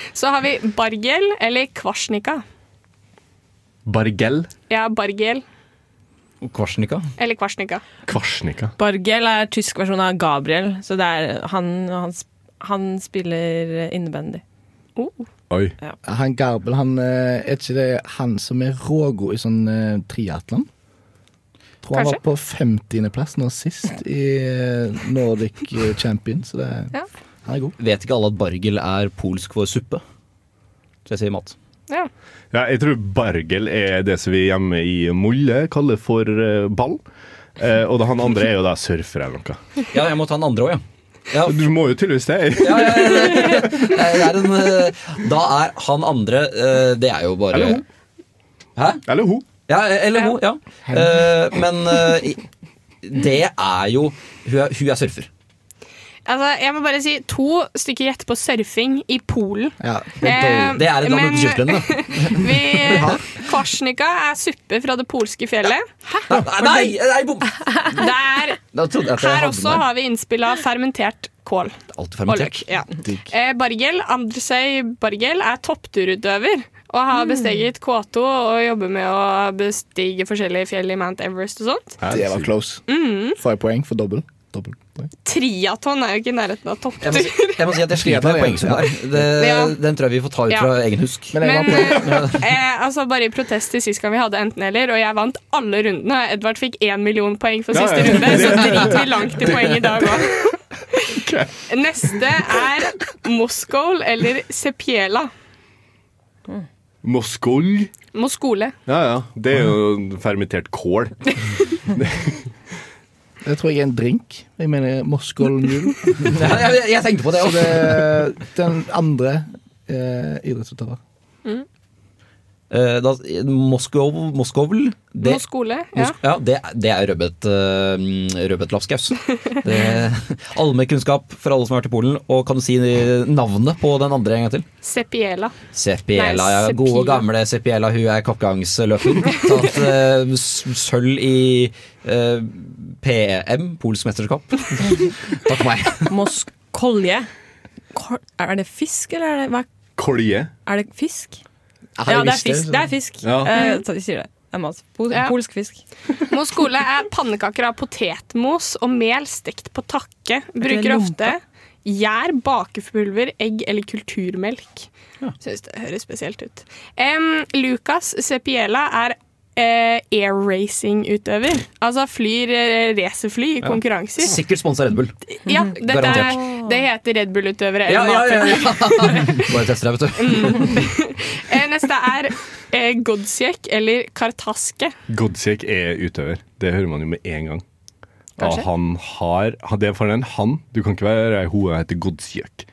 Speaker 5: så har vi bargel eller kvarsnika.
Speaker 1: Bargel.
Speaker 5: Ja, bargel
Speaker 2: Kvarsnika.
Speaker 5: eller kvarsnika.
Speaker 1: Kvarsnika.
Speaker 11: Bargel er tysk versjon av Gabriel, så det er han, han, sp- han spiller innebandy.
Speaker 1: Oi.
Speaker 4: Han Garbel, han eh, Er ikke det han som er rågod i sånn eh, triatlon? Tror han
Speaker 5: Kanskje.
Speaker 4: var på 50.-plass nå sist i eh, Nordic Champion, så det
Speaker 5: Ja.
Speaker 4: Han er god.
Speaker 2: Vet ikke alle at bargel er polsk for suppe? Så jeg sier mat.
Speaker 5: Ja.
Speaker 1: Ja, jeg tror bargel er det som vi hjemme i Molle kaller for eh, ball. Eh, og det han andre er jo da surfer eller noe.
Speaker 2: Ja, jeg må ta den andre òg, ja.
Speaker 1: Du må jo tydeligvis det.
Speaker 2: Det er en, eh, da er han andre eh, Det er jo bare
Speaker 1: Eller hun.
Speaker 2: Hæ?
Speaker 1: Eller hun.
Speaker 2: Ja, eller hun, ja. Eh, Men eh, i- det er jo Hun er, hun er surfer.
Speaker 5: Altså, jeg må bare si to stykker gjett på surfing i Polen. Eh,
Speaker 2: det er et land
Speaker 5: men-
Speaker 2: uten kystlinje, da.
Speaker 5: Vi, kvarsnika er suppe fra det polske fjellet. Hæ?
Speaker 2: Nei, nei, bom!
Speaker 5: Det er,
Speaker 2: Da trodde jeg at jeg
Speaker 5: her
Speaker 2: hadde
Speaker 5: også
Speaker 2: den.
Speaker 5: har vi innspill av fermentert kål.
Speaker 2: Alltid fermentert.
Speaker 5: Og løk, ja. Eh, Bargel, Andrzej Bargel, er toppturutøver og har besteget K2 og jobber med å bestige forskjellige fjell i Mount Everest og sånt.
Speaker 4: Det var close.
Speaker 5: Mm.
Speaker 4: Får jeg poeng for dobbel? Dobbel.
Speaker 5: Triaton er jo ikke i nærheten av topptur.
Speaker 2: Jeg må, si, jeg må si at jeg sliter med poengsum der. Det, Den tror jeg vi får ta ut fra
Speaker 5: Ja.
Speaker 2: egen husk.
Speaker 5: Men eh, altså bare i protest til sist gang vi hadde enten-eller, og jeg vant alle rundene. Edvard fikk én million poeng for
Speaker 12: Ja,
Speaker 5: siste
Speaker 12: ja.
Speaker 5: runde, så
Speaker 12: Det-
Speaker 5: driter vi langt i
Speaker 12: det-
Speaker 5: poeng i dag òg. Neste er Moskol eller Sepiela.
Speaker 1: Moskol.
Speaker 5: Moskole.
Speaker 1: Ja, ja. Det er jo fermentert kål.
Speaker 4: Det tror jeg er en drink. Jeg mener Moskol Mule.
Speaker 2: Ja, jeg- jeg tenkte på det
Speaker 4: Så
Speaker 2: også.
Speaker 4: det- Den andre eh, idrettsutøver.
Speaker 2: Eh, da, Moskov, Moskovl det,
Speaker 5: Moskole, ja.
Speaker 2: Mosk- ja, det, det er rødbet, eh, rødbetlapskaus. Det- Allmennkunnskap for alle som har vært i Polen. Og kan du si eh, navnet på den andre en gang til?
Speaker 5: Sepiela.
Speaker 2: Sepiela,
Speaker 5: Nei,
Speaker 2: ja.
Speaker 5: Sepila.
Speaker 2: Gode gamle Sepiela, hun er kappgangsløper. Tatt eh, s- sølv i eh, PM, polsk mesterskap. Takk for meg.
Speaker 11: Moskolje. Kol- Er det fisk, eller er det, hva,
Speaker 1: Kolje.
Speaker 11: er det fisk?
Speaker 1: Jeg
Speaker 11: Ja, det er
Speaker 1: visste det,
Speaker 11: fisk.
Speaker 1: så-
Speaker 11: Det er fisk.
Speaker 1: Ja.
Speaker 11: Eh,
Speaker 5: Mm.
Speaker 11: så vi sier det. Det er mat. Pol Polsk fisk.
Speaker 5: Moskole er pannekaker av potetmos og mel stekt på takke. Bruker ofte gjær, bakepulver, egg eller kulturmelk. Syns det høres spesielt ut. Em, Lucas Sepiela er eh, air racing-utøver. Altså flyr eh, racerfly i
Speaker 2: Ja.
Speaker 5: konkurranser.
Speaker 2: Sikkert sponsa Red Bull.
Speaker 5: Ja, dette er,
Speaker 2: Garantert.
Speaker 5: det heter Red Bull-utøvere.
Speaker 2: Ja,
Speaker 5: eller
Speaker 2: ja, ja,
Speaker 5: matutøvere.
Speaker 2: Bare tester deg, vet du.
Speaker 5: Eh, Neste er eh, Godsjek eller Kartaske.
Speaker 1: Godsek er utøver. Det hører man jo med en gang. Ja,
Speaker 5: Kanskje.
Speaker 1: han har han- Det er for en han. Du kan ikke være ei hoa heter Godsjek.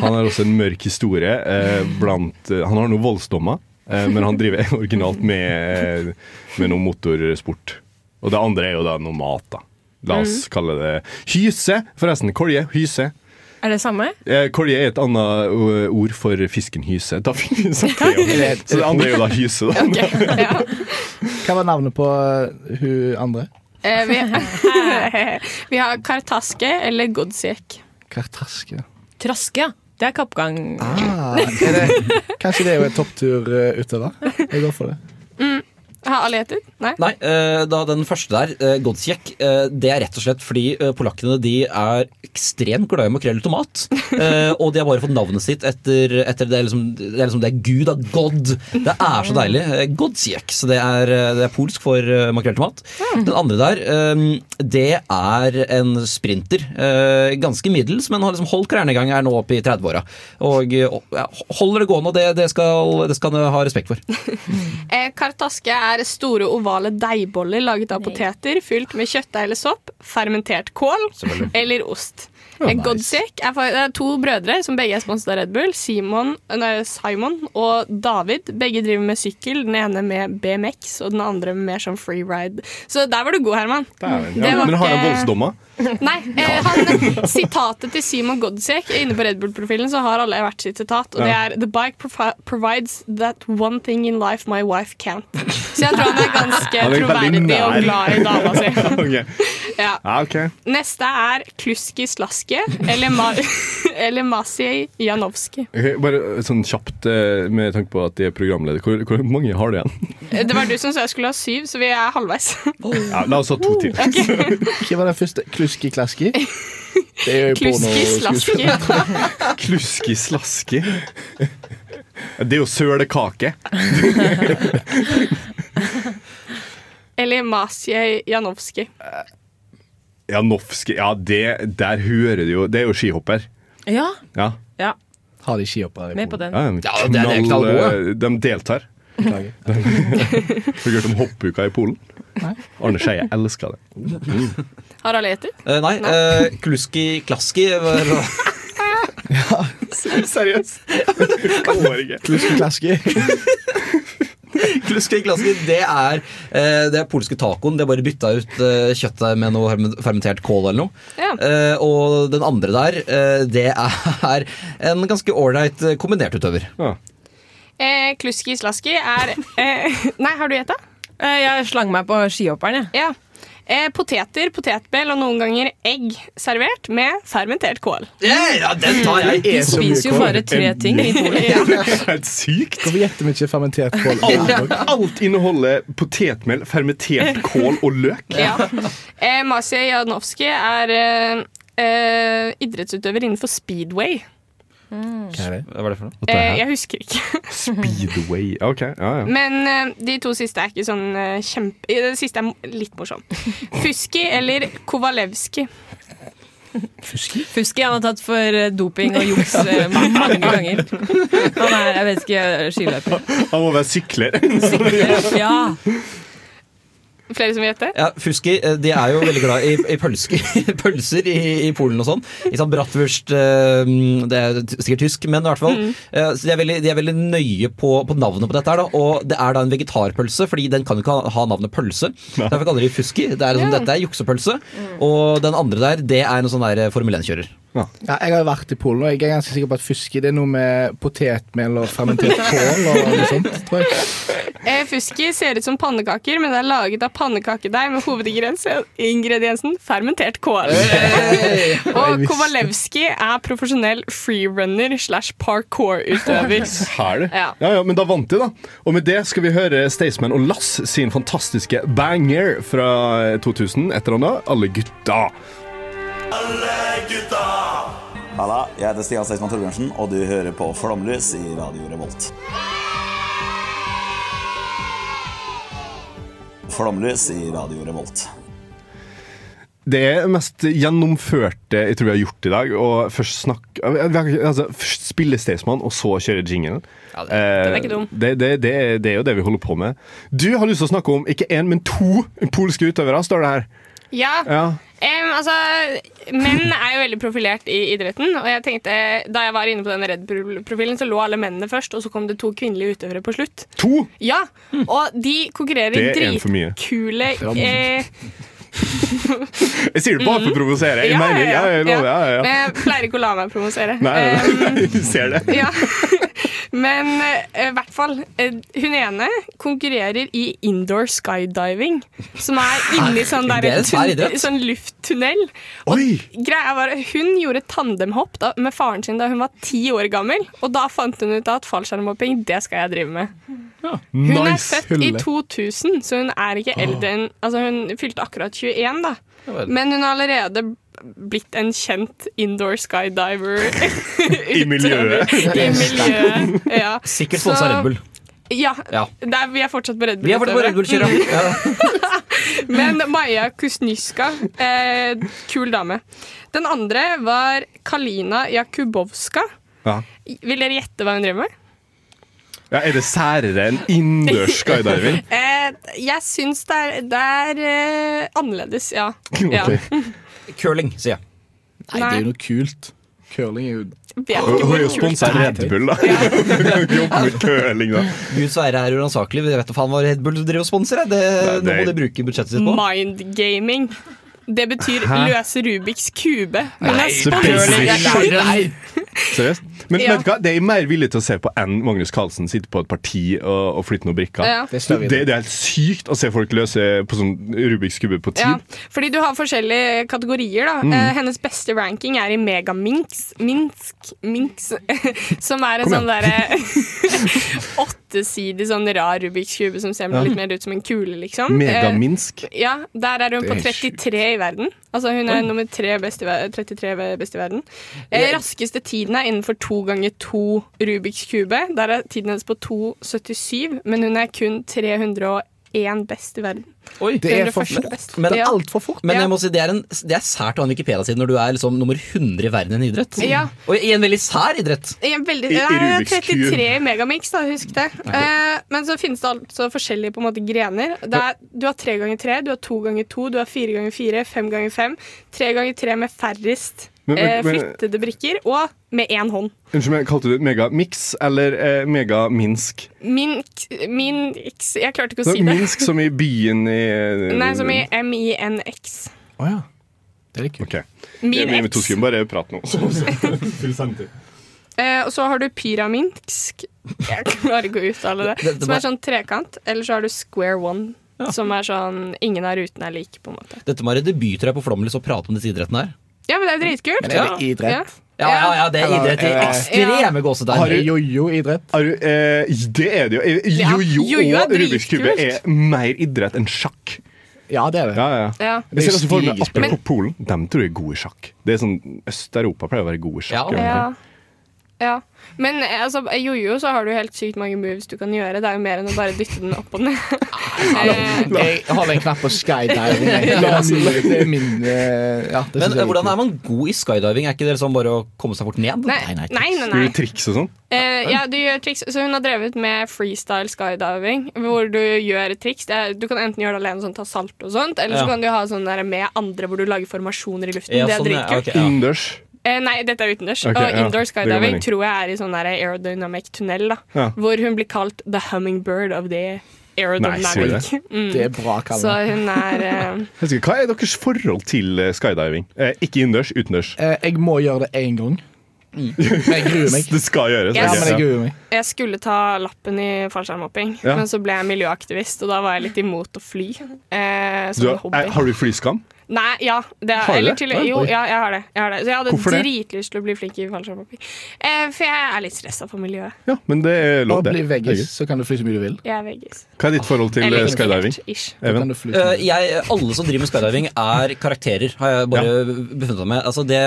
Speaker 1: Han har også en mørk historie. Eh, blant, eh, han har noen voldsdommer, eh, men han driver originalt med, eh, med noe motorsport. Og det andre er jo da noe mat, da. La oss
Speaker 5: Mm.
Speaker 1: kalle det hyse. Forresten, kolje. Hyse.
Speaker 11: Er det samme?
Speaker 1: Eh, Kolje er et annet ø, ord for fisken hyse. Da fikk vi sagt det. ja. Så det andre er jo da hyse, da.
Speaker 4: Hva var navnet på eh, hun andre?
Speaker 5: Eh, vi, vi har Kartaske eller Godsjek.
Speaker 4: Kartaske.
Speaker 11: Traske, ja. Det er kappgang.
Speaker 4: Ah, er det, kanskje det er jo en toppturutøver? Jeg går for det.
Speaker 5: Mm. Har alle gjettet? Nei?
Speaker 2: Nei, eh, da den første der, eh, Godsjek, eh, det er rett og slett fordi eh, polakkene de er ekstremt glad i makrell i tomat. eh, Og de har bare fått navnet sitt etter, etter det, er liksom, det er liksom det er Gud, da. God. Det er så deilig. Eh, Godsjek. Så det er, eh, det er polsk for eh, makrell i tomat. Den andre der, eh, det er en sprinter. eh, Ganske middels, men har liksom holdt klærne i gang, er nå oppe i 30-åra. Og eh, ja, holder det gående, og det, det, skal, det skal han ha respekt for.
Speaker 5: Eh, Kartaske er store ovale deigboller laget av poteter fylt med kjøttdeig eller sopp, fermentert kål
Speaker 2: Selvfølgelig.
Speaker 5: eller ost. Godsek er, fa- det er to brødre som begge er sponset av Red Bull. Simon, nei, Simon og David. Begge driver med sykkel. Den ene med BMX, og den andre med mer sånn freeride. Så der var du god, Herman. Det var
Speaker 1: men har han
Speaker 5: ikke-
Speaker 1: voldsdomma?
Speaker 5: Nei. Eh, han, sitatet til Simon Godsek inne på Red Bull-profilen så har alle hvert sitt sitat, og det
Speaker 1: Ja.
Speaker 5: er The bike profi- provides that one thing in life my wife can't. Så jeg tror han er ganske
Speaker 1: Han er veldig
Speaker 5: troverdig og
Speaker 1: nær.
Speaker 5: glad i dama si.
Speaker 1: Ok.
Speaker 5: Ja.
Speaker 1: Ja, ok.
Speaker 5: Neste er Kluski Slaske eller, Ma eller Masiej Janowski.
Speaker 1: Ok, Bare sånn kjapt eh, med tanke på at de er programleder. Hvor, hvor mange har det igjen?
Speaker 5: Det var du som sa jeg skulle ha syv, så vi er halvveis.
Speaker 1: Ja, la oss ha to til.
Speaker 4: Hva var den første? Kluski-klaski? Det er jo
Speaker 5: Kluski
Speaker 4: pornoskuespiller.
Speaker 5: Slaske.
Speaker 1: Kluski slaski. Det er jo sølekake.
Speaker 5: Eller Masiej Janowski.
Speaker 1: Janowski Ja, det, der hører du jo Det er jo skihopper.
Speaker 11: Ja.
Speaker 1: Ja.
Speaker 11: ja.
Speaker 4: Har de skihoppere?
Speaker 11: Med på den.
Speaker 1: Ja, de
Speaker 4: Ja, det er- det er
Speaker 1: knall- eh,
Speaker 4: knallgode.
Speaker 1: De deltar.
Speaker 4: Beklager.
Speaker 1: Har du hørt om hoppuka i Polen? Arne Skeie elsker det.
Speaker 5: Har alle gjettet?
Speaker 2: Eh, nei, eh, Kluski Klaski eh, var-
Speaker 1: Seriøst? Går ikke.
Speaker 4: Kluski-klaski.
Speaker 2: Kluski Klaski, det er, eh, det er polske tacoen. De har bare bytta ut eh, kjøttet med noe herme- fermentert kål eller noe.
Speaker 5: Ja.
Speaker 2: Eh, og den andre der, eh, det er en ganske ålreit eh, kombinert utøver.
Speaker 5: Eh, Kluski Slaski er eh, Nei, har du gjetta?
Speaker 11: Eh, jeg slang meg på skihopperen,
Speaker 5: jeg. Ja. Eh, poteter, potetbell og noen ganger egg servert med fermentert kål.
Speaker 2: ja, den tar jeg.
Speaker 11: De spiser jo bare tre ting i Polen.
Speaker 1: Helt sykt.
Speaker 4: Hvorfor gjetter vi ikke fermentert kål?
Speaker 1: Alt, alt inneholder potetmel, fermentert kål og løk.
Speaker 5: Ja. Eh, Masja Janowski er eh, eh, idrettsutøver innenfor speedway.
Speaker 1: Hva er det?
Speaker 2: for noe?
Speaker 5: Eh, jeg husker ikke.
Speaker 1: Speedway. Ok, ja, ja.
Speaker 5: Men eh, de to siste er ikke sånn eh, kjempe... eh, Den siste er mo- litt morsom. Fuski eller Kovalevski.
Speaker 11: Fuski? Fuski han har tatt for eh, doping og juks eh, mange ganger. Han er, jeg vet ikke, eh, skiløper.
Speaker 1: Han må være sykler.
Speaker 11: Ja.
Speaker 5: Flere som vil gjette?
Speaker 2: Ja, Fuski eh, de er jo veldig glad i, i pølsker, pølser i, i Polen og sånn. Ikke sant, Bratwurst eh, Det er t- sikkert tysk, men i hvert fall. eh, Så de, er veldig, de er veldig nøye på, på navnet på dette. her da, Og det er da en vegetarpølse, fordi den kan jo ikke ha- ha navnet pølse. Derfor kaller de Fuski. Det er liksom,
Speaker 4: Ja.
Speaker 2: Dette er juksepølse. Og den andre der, det er en sånn der eh, Formel 1-kjører.
Speaker 4: Ja, jeg har jo vært i Polen, og jeg er ganske sikker på at fuski det er noe med potetmel og fermentert kål. og noe sånt, tror jeg.
Speaker 5: Eh, fuski ser ut som pannekaker, men det er laget av pannekakedeig med hovedingrediensen fermentert kål. og Kovalevski er profesjonell freerunner slash parkour-utøver.
Speaker 1: Her, det.
Speaker 5: Ja.
Speaker 1: Ja, ja, men da vant de, da. Og med det skal vi høre Staysman og Lass sin fantastiske banger fra 2000. Et eller annet. Alle gutta.
Speaker 12: Halla, jeg heter Stian Seismann Torbjørnsen, og du hører på Flomlys i Radio Revolt. Flomlys i Radio Revolt.
Speaker 1: Det er det mest gjennomførte jeg tror vi har gjort i dag. Og først snakk altså, Først spille Staysman, og så kjøre jinglen.
Speaker 5: den er ikke dum.
Speaker 1: Det, det, det, er- det er jo det vi holder på med. Du har lyst til å snakke om ikke én, men to polske utøvere, står det her.
Speaker 5: Ja.
Speaker 1: Ja.
Speaker 5: Em, altså, menn er jo veldig profilert i idretten, og jeg tenkte, da jeg var inne på den Red Bull-profilen, så lå alle mennene først, og så kom det to kvinnelige utøvere på slutt.
Speaker 1: To?
Speaker 5: Ja, og de konkurrerer i
Speaker 1: Det er en for mye.
Speaker 5: dritkule
Speaker 1: Ja, men-
Speaker 5: eh,
Speaker 1: Jeg sier det bare
Speaker 5: Mm.
Speaker 1: for å provosere. Jeg mener, ja, jeg lover, ja, ja,
Speaker 5: Men ehm,
Speaker 1: ja.
Speaker 5: jeg pleier ikke å la meg provosere.
Speaker 1: Nei, nei, nei, jeg ser det.
Speaker 5: Ja. Men eh, i hvert fall. eh, hun ene konkurrerer i indoor skydiving. Som er inni sånn, der,
Speaker 2: Det er en svær
Speaker 5: tun-
Speaker 2: idrett.
Speaker 5: sånn lufttunnel.
Speaker 1: Oi!
Speaker 5: Greia var at Hun gjorde tandemhopp da, med faren sin da hun var ti år gammel. Og da fant hun ut at fallskjermhopping, det skal jeg drive med. Hun er født i 2000, så hun er ikke eldre enn Altså, hun fylte akkurat 21, da.
Speaker 2: Ja vel.
Speaker 5: Men hun har allerede blitt en kjent indoor skydiver.
Speaker 1: I miljøet.
Speaker 5: I miljøet, ja.
Speaker 2: Sikkert sponsa
Speaker 5: Så-
Speaker 2: Red Bull.
Speaker 5: Ja.
Speaker 2: Ja.
Speaker 5: Det er, vi er fortsatt på Red Bull.
Speaker 2: Vi har vært på Red Bull-kjøra. Ja.
Speaker 5: Men Maja Kuzniska, eh, kul dame. Den andre var Kalina Jakubowska.
Speaker 1: Ja.
Speaker 5: Vil dere gjette hva hun driver med?
Speaker 1: Ja, er det særere enn innendørs skydiving?
Speaker 5: Eh, jeg syns det er, det er eh, annerledes, ja. ja.
Speaker 2: Curling, sier jeg.
Speaker 4: Nei, det er jo noe kult. Curling er jo
Speaker 1: Hun er jo sponsa Red Bull, da. Jobber med curling, da.
Speaker 2: Guds ære er uransakelig. Vi vet da faen hva Red Bull driver og sponser. jeg. Det, nå må de bruke budsjettet sitt på.
Speaker 5: Mindgaming. Det betyr
Speaker 1: Hæ?
Speaker 5: løse Rubiks kube. Men
Speaker 1: Nei,
Speaker 5: jeg
Speaker 1: så
Speaker 5: spoiler
Speaker 1: basic.
Speaker 5: det.
Speaker 1: Nei. Seriøst? Men
Speaker 5: Ja.
Speaker 1: vet du hva, det er jeg mer villig til å se på enn Magnus Carlsen sitte på et parti og, og flytte noen brikker.
Speaker 5: Ja. Det
Speaker 1: Det,
Speaker 5: står vi i
Speaker 1: det, er helt sykt å se folk løse på sånn Rubiks kube på
Speaker 5: Ja,
Speaker 1: tid.
Speaker 5: fordi du har forskjellige kategorier. da
Speaker 1: Mm.
Speaker 5: eh, Hennes beste ranking er i Megaminx Minsk, Minx, Som er en
Speaker 1: Kom
Speaker 5: sånn
Speaker 1: igjen.
Speaker 5: derre åttesidig sånn rar Rubiks kube som ser
Speaker 1: Ja.
Speaker 5: litt mer ut som en kule, liksom.
Speaker 1: Megaminsk?
Speaker 5: Eh, Ja, Der er hun
Speaker 1: Det
Speaker 5: på
Speaker 1: er
Speaker 5: 33 i verden. Altså Hun
Speaker 1: Oi.
Speaker 5: er nummer tre best i, ver- 33 best i verden. Eh, raskeste tiden er innenfor to ganger to Rubiks kube. Der er tiden hennes på 2,77, men hun er kun 301 best i verden.
Speaker 2: det er for
Speaker 5: 301.
Speaker 2: fort.
Speaker 5: best.
Speaker 2: Men-
Speaker 5: Ja.
Speaker 2: Men
Speaker 5: Ja.
Speaker 2: jeg må si, det er, en, det er sært å ha en Wikipedia-side når du er liksom nummer 100 i verden i en idrett.
Speaker 5: Ja.
Speaker 2: Og i en veldig sær idrett.
Speaker 5: I en veldig,
Speaker 2: I- i
Speaker 5: ja, det er
Speaker 2: Rubiks kube.
Speaker 5: 33 i Megamix, da, husk det. Eh, men så finnes det altså forskjellige på en måte, grener. Det er, du har tre ganger tre, du har to ganger to, du har fire ganger fire, fem ganger fem. Tre ganger tre med færrest
Speaker 1: Men- men-
Speaker 5: eh,
Speaker 1: men-
Speaker 5: flyttede brikker, og med én hånd.
Speaker 1: Unnskyld meg, kalte du det megamix eller eh, megaminsk?
Speaker 5: Min, min x Jeg klarte ikke å
Speaker 1: Så
Speaker 5: si det.
Speaker 1: Minsk som i byen i eh,
Speaker 5: Nei, som i M-I-N-X.
Speaker 1: Å ja. Det er litt kult.
Speaker 5: Min
Speaker 1: vi, vi
Speaker 5: X.
Speaker 1: to skulle bare prate nå. Så, så. Full samtid.
Speaker 5: Eh, og så har du pyraminsk, jeg klarer ikke å uttale det,
Speaker 1: Det- det
Speaker 5: som
Speaker 1: var-
Speaker 5: er sånn trekant. Eller så har du square one, som er sånn ingen av rutene er like, på en måte.
Speaker 2: Dette må være debut tror jeg, på Flåmlys å prate om disse idrettene her.
Speaker 5: Ja, men det er jo dritkult.
Speaker 2: Men er det idrett? Ja, ja, ja, det er
Speaker 5: Eller-
Speaker 2: idrett i
Speaker 5: eller-
Speaker 2: ekstreme gåsetegn.
Speaker 1: Har du-
Speaker 4: jojo-idrett?
Speaker 1: eh, det er det jo. Eh,
Speaker 5: Ja,
Speaker 1: Jojo
Speaker 5: jojo er
Speaker 1: og Rubiks kube
Speaker 5: dritkult.
Speaker 1: er mer idrett enn sjakk.
Speaker 4: Ja, det er det.
Speaker 1: Ja, ja.
Speaker 5: Ja.
Speaker 1: Jeg ser også for meg
Speaker 5: Stigespill.
Speaker 1: Apropos Polen, de tror jeg er gode i sjakk. Det er sånn, Øst-Europa pleier å være gode i sjakk.
Speaker 5: Ja. ja. Men eh, altså, i jojo så har du helt sykt mange moves du kan gjøre. Det er jo mer enn å bare dytte den opp og ned. Eh,
Speaker 4: Jeg holder en knapp på skydiving. jeg.
Speaker 2: La-
Speaker 4: Det er min eh, ja, det
Speaker 2: Men
Speaker 4: synes jeg
Speaker 2: eh,
Speaker 4: er
Speaker 2: hvordan
Speaker 4: kult.
Speaker 2: er man god i skydiving? Er ikke det liksom bare å komme seg fort ned?
Speaker 5: Nei, nei, nei, nei. Gjør du
Speaker 1: triks og sånn?
Speaker 5: Eh, ja, du gjør triks. Så hun har drevet med freestyle skydiving, hvor du gjør et triks. Det er- Du kan enten gjøre det alene, sånn ta salto og sånt, eller
Speaker 1: Ja.
Speaker 5: så kan du ha sånn der med andre, hvor du lager formasjoner i luften.
Speaker 1: Ja,
Speaker 5: det er
Speaker 1: sånn, ja,
Speaker 5: dritkult.
Speaker 1: ok, ja. Innendørs.
Speaker 5: Eh, nei, dette er utendørs.
Speaker 1: Ok,
Speaker 5: og
Speaker 1: ja,
Speaker 5: indoor
Speaker 1: det gir
Speaker 5: skydiving
Speaker 1: mening.
Speaker 5: tror jeg er i sånn der aerodynamic-tunnel, da.
Speaker 1: Ja.
Speaker 5: Hvor hun blir kalt the hummingbird of the aerodynamic.
Speaker 1: Nei, sier du det?
Speaker 5: Mm.
Speaker 1: Det er bra, Kalle.
Speaker 5: Så hun er eh,
Speaker 1: Jeg husker, Hva er deres forhold til eh, skydiving? Eh, ikke innendørs, utendørs.
Speaker 4: Eh, jeg må gjøre det én gang.
Speaker 2: Mm.
Speaker 4: Men jeg gruer meg.
Speaker 1: Det skal gjøres.
Speaker 4: Ja,
Speaker 1: ok.
Speaker 4: men jeg gruer meg.
Speaker 5: Jeg skulle ta lappen i fallskjermhopping,
Speaker 1: Ja.
Speaker 5: men så ble jeg miljøaktivist, og da var jeg litt imot å fly. Eh,
Speaker 1: Du,
Speaker 5: som en hobby.
Speaker 1: eh, har du flyskam?
Speaker 5: Nei, ja. Det,
Speaker 1: Har du
Speaker 5: eller
Speaker 1: det?
Speaker 5: Til,
Speaker 1: Oi.
Speaker 5: jo, ja, jeg har det. Jeg har det. Så jeg
Speaker 1: Hvorfor
Speaker 5: hadde
Speaker 1: det?
Speaker 5: dritlyst til å bli flink i fallskjermhopping. Eh, for jeg er litt stressa for miljøet.
Speaker 1: Ja, men det er lov,
Speaker 4: Og
Speaker 1: det.
Speaker 4: blir veggis,
Speaker 1: Herregud.
Speaker 4: så kan du fly så mye du vil.
Speaker 5: Jeg er veggis.
Speaker 1: Hva er ditt forhold til
Speaker 2: Eller
Speaker 1: eh,
Speaker 2: ikke
Speaker 1: skydiving?
Speaker 2: helt, ish.
Speaker 1: Even?
Speaker 2: Eh, jeg, alle som driver med skydiving, er karakterer, har jeg bare befunnet meg med. Altså det,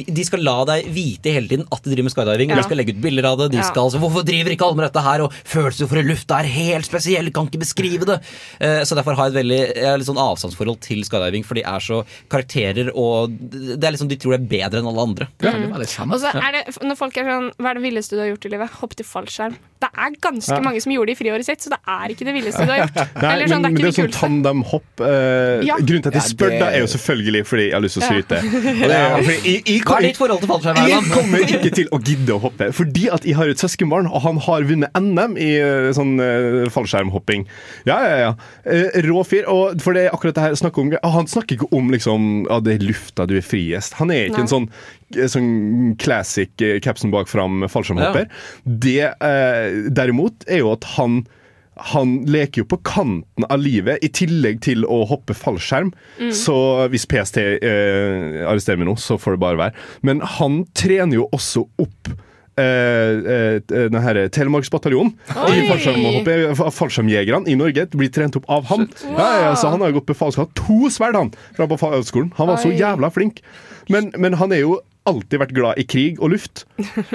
Speaker 2: de, de skal la deg vite hele tiden at de driver med skydiving.
Speaker 9: Ja.
Speaker 2: De skal legge ut bilder av det. De
Speaker 9: Ja.
Speaker 2: skal altså, 'Hvorfor driver ikke alle med dette her?' Og 'Følelser for i lufta er helt spesiell, kan ikke beskrive det'. Eh, så derfor har jeg et veldig jeg har litt sånn avstandsforhold til skydiving, for de er så karakterer, og det er liksom, de tror det er bedre enn alle andre.
Speaker 5: Ja, det var Og så er det, når folk er sånn Hva er det villeste du har gjort i livet? Hopp til fallskjerm. Det er ganske
Speaker 1: Ja.
Speaker 5: mange som gjorde det i friåret sitt, så det er ikke det villeste du har gjort.
Speaker 1: Nei,
Speaker 5: Eller sånn,
Speaker 1: men, men
Speaker 5: det
Speaker 1: det
Speaker 5: er
Speaker 1: er sånn
Speaker 5: ikke det kuleste.
Speaker 1: tandemhopp eh,
Speaker 5: Ja.
Speaker 1: Grunnen til at
Speaker 5: Ja,
Speaker 1: jeg spør,
Speaker 5: det-
Speaker 1: da, er jo selvfølgelig fordi jeg har lyst til å
Speaker 5: Ja.
Speaker 1: skryte. Og det er, fordi jeg, jeg,
Speaker 2: Hva er ditt forhold til fallskjerm?
Speaker 1: Jeg
Speaker 2: Herman?
Speaker 1: kommer ikke til å gidde å hoppe, fordi at jeg har et søskenbarn, og han har vunnet NM i eh, sånn eh, fallskjermhopping. Ja, ja, ja. Eh, Rå fyr. Og for det er akkurat det her snakk om, ah, Han snakker ikke om liksom, ah, det er lufta du er friest. Han er ikke en sånn, eh, sånn classic eh, capsen bak fram fallskjermhopper. Det eh, derimot er jo at han han leker jo på kanten av livet, i tillegg til å hoppe fallskjerm.
Speaker 10: Mm.
Speaker 1: Så hvis PST eh, arresterer meg nå, så får det bare være. Men han trener jo også opp eh, eh, den her Telemarksbataljonen.
Speaker 10: Oi!
Speaker 1: I fallskjermhoppet. eh, Fallskjermjegerne i Norge blir trent opp av ham. Ja, ja, så han har jo gått befalskap. To sverd, han, fra befalsskolen. Han var så
Speaker 10: Oi.
Speaker 1: jævla flink. Men, men han er jo alltid vært glad i krig og luft.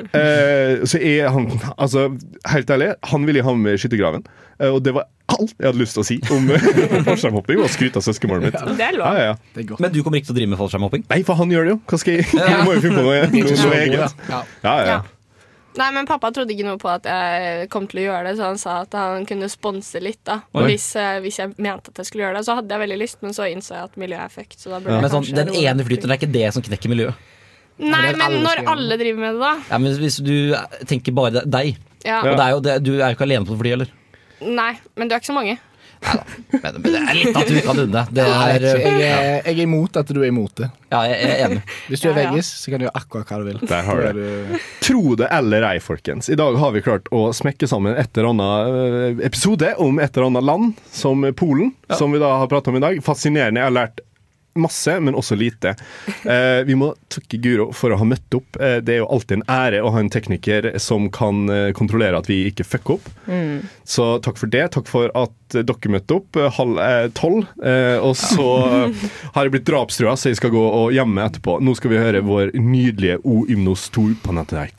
Speaker 1: Eh, så er han Altså, helt ærlig, han ville ha med i skyttergraven. Eh, og det var alt jeg hadde lyst til å si om fallskjermhopping og skryte av søskenbarnet mitt.
Speaker 2: Det er lov.
Speaker 1: Ja, ja, ja.
Speaker 2: Men du kommer ikke til å drive med fallskjermhopping?
Speaker 1: Nei, for han gjør det jo. Hva skal jeg
Speaker 2: Ja.
Speaker 1: Jeg må jo finne på noe, noe, noe eget.
Speaker 2: Ja.
Speaker 1: Ja, ja.
Speaker 5: Nei, men pappa trodde ikke noe på at jeg kom til å gjøre det, så han sa at han kunne sponse litt, da.
Speaker 2: Oi.
Speaker 5: Hvis, eh, hvis jeg mente at jeg skulle gjøre det. Så hadde jeg veldig lyst, men så innså jeg at miljøet er fucked, så da burde
Speaker 2: Men
Speaker 5: jeg
Speaker 2: sånn,
Speaker 5: kanskje
Speaker 2: Den
Speaker 5: roe
Speaker 2: ene
Speaker 5: meg.
Speaker 2: flyten det er ikke det som knekker miljøet.
Speaker 5: Nei,
Speaker 2: Eller
Speaker 5: men
Speaker 2: alle
Speaker 5: når
Speaker 2: skal gjøre
Speaker 5: alle driver med det,
Speaker 2: Ja, men hvis du tenker bare deg,
Speaker 5: Ja.
Speaker 2: og det er jo det, du er jo ikke alene på fly heller.
Speaker 5: da Nei, men du er ikke så mange.
Speaker 2: Men det er litt at du ikke kan unne. Det
Speaker 4: Nei,
Speaker 2: er, eh,
Speaker 4: jeg, vet ikke. jeg,
Speaker 2: ja.
Speaker 4: er- jeg er imot at du er imot det.
Speaker 2: Ja, jeg er enig.
Speaker 4: Hvis du er
Speaker 10: Ja, ja.
Speaker 4: veggis, så kan du gjøre akkurat hva du vil.
Speaker 1: Der har
Speaker 4: Da
Speaker 1: du
Speaker 4: er
Speaker 1: det. Tro det eller ei, folkens. I dag har vi klart å smekke sammen et eller annet eh, episode om et eller annet land, som Polen, som vi da har pratet om i dag. Fascinerende. Jeg har lært masse, men også lite. Eh, vi må takke Guro for å ha møtt opp. Eh, det er jo alltid en ære å ha en tekniker som kan eh, kontrollere at vi ikke fucker opp.
Speaker 13: Mm.
Speaker 1: Så takk for det. Takk for at eh, dere møtte opp eh, halv eh, tolv. Eh, og så eh, har jeg blitt drapstrua, så jeg skal gå og gjemme meg etterpå. Nå skal vi høre vår nydelige O Ymnos 2 på nettet.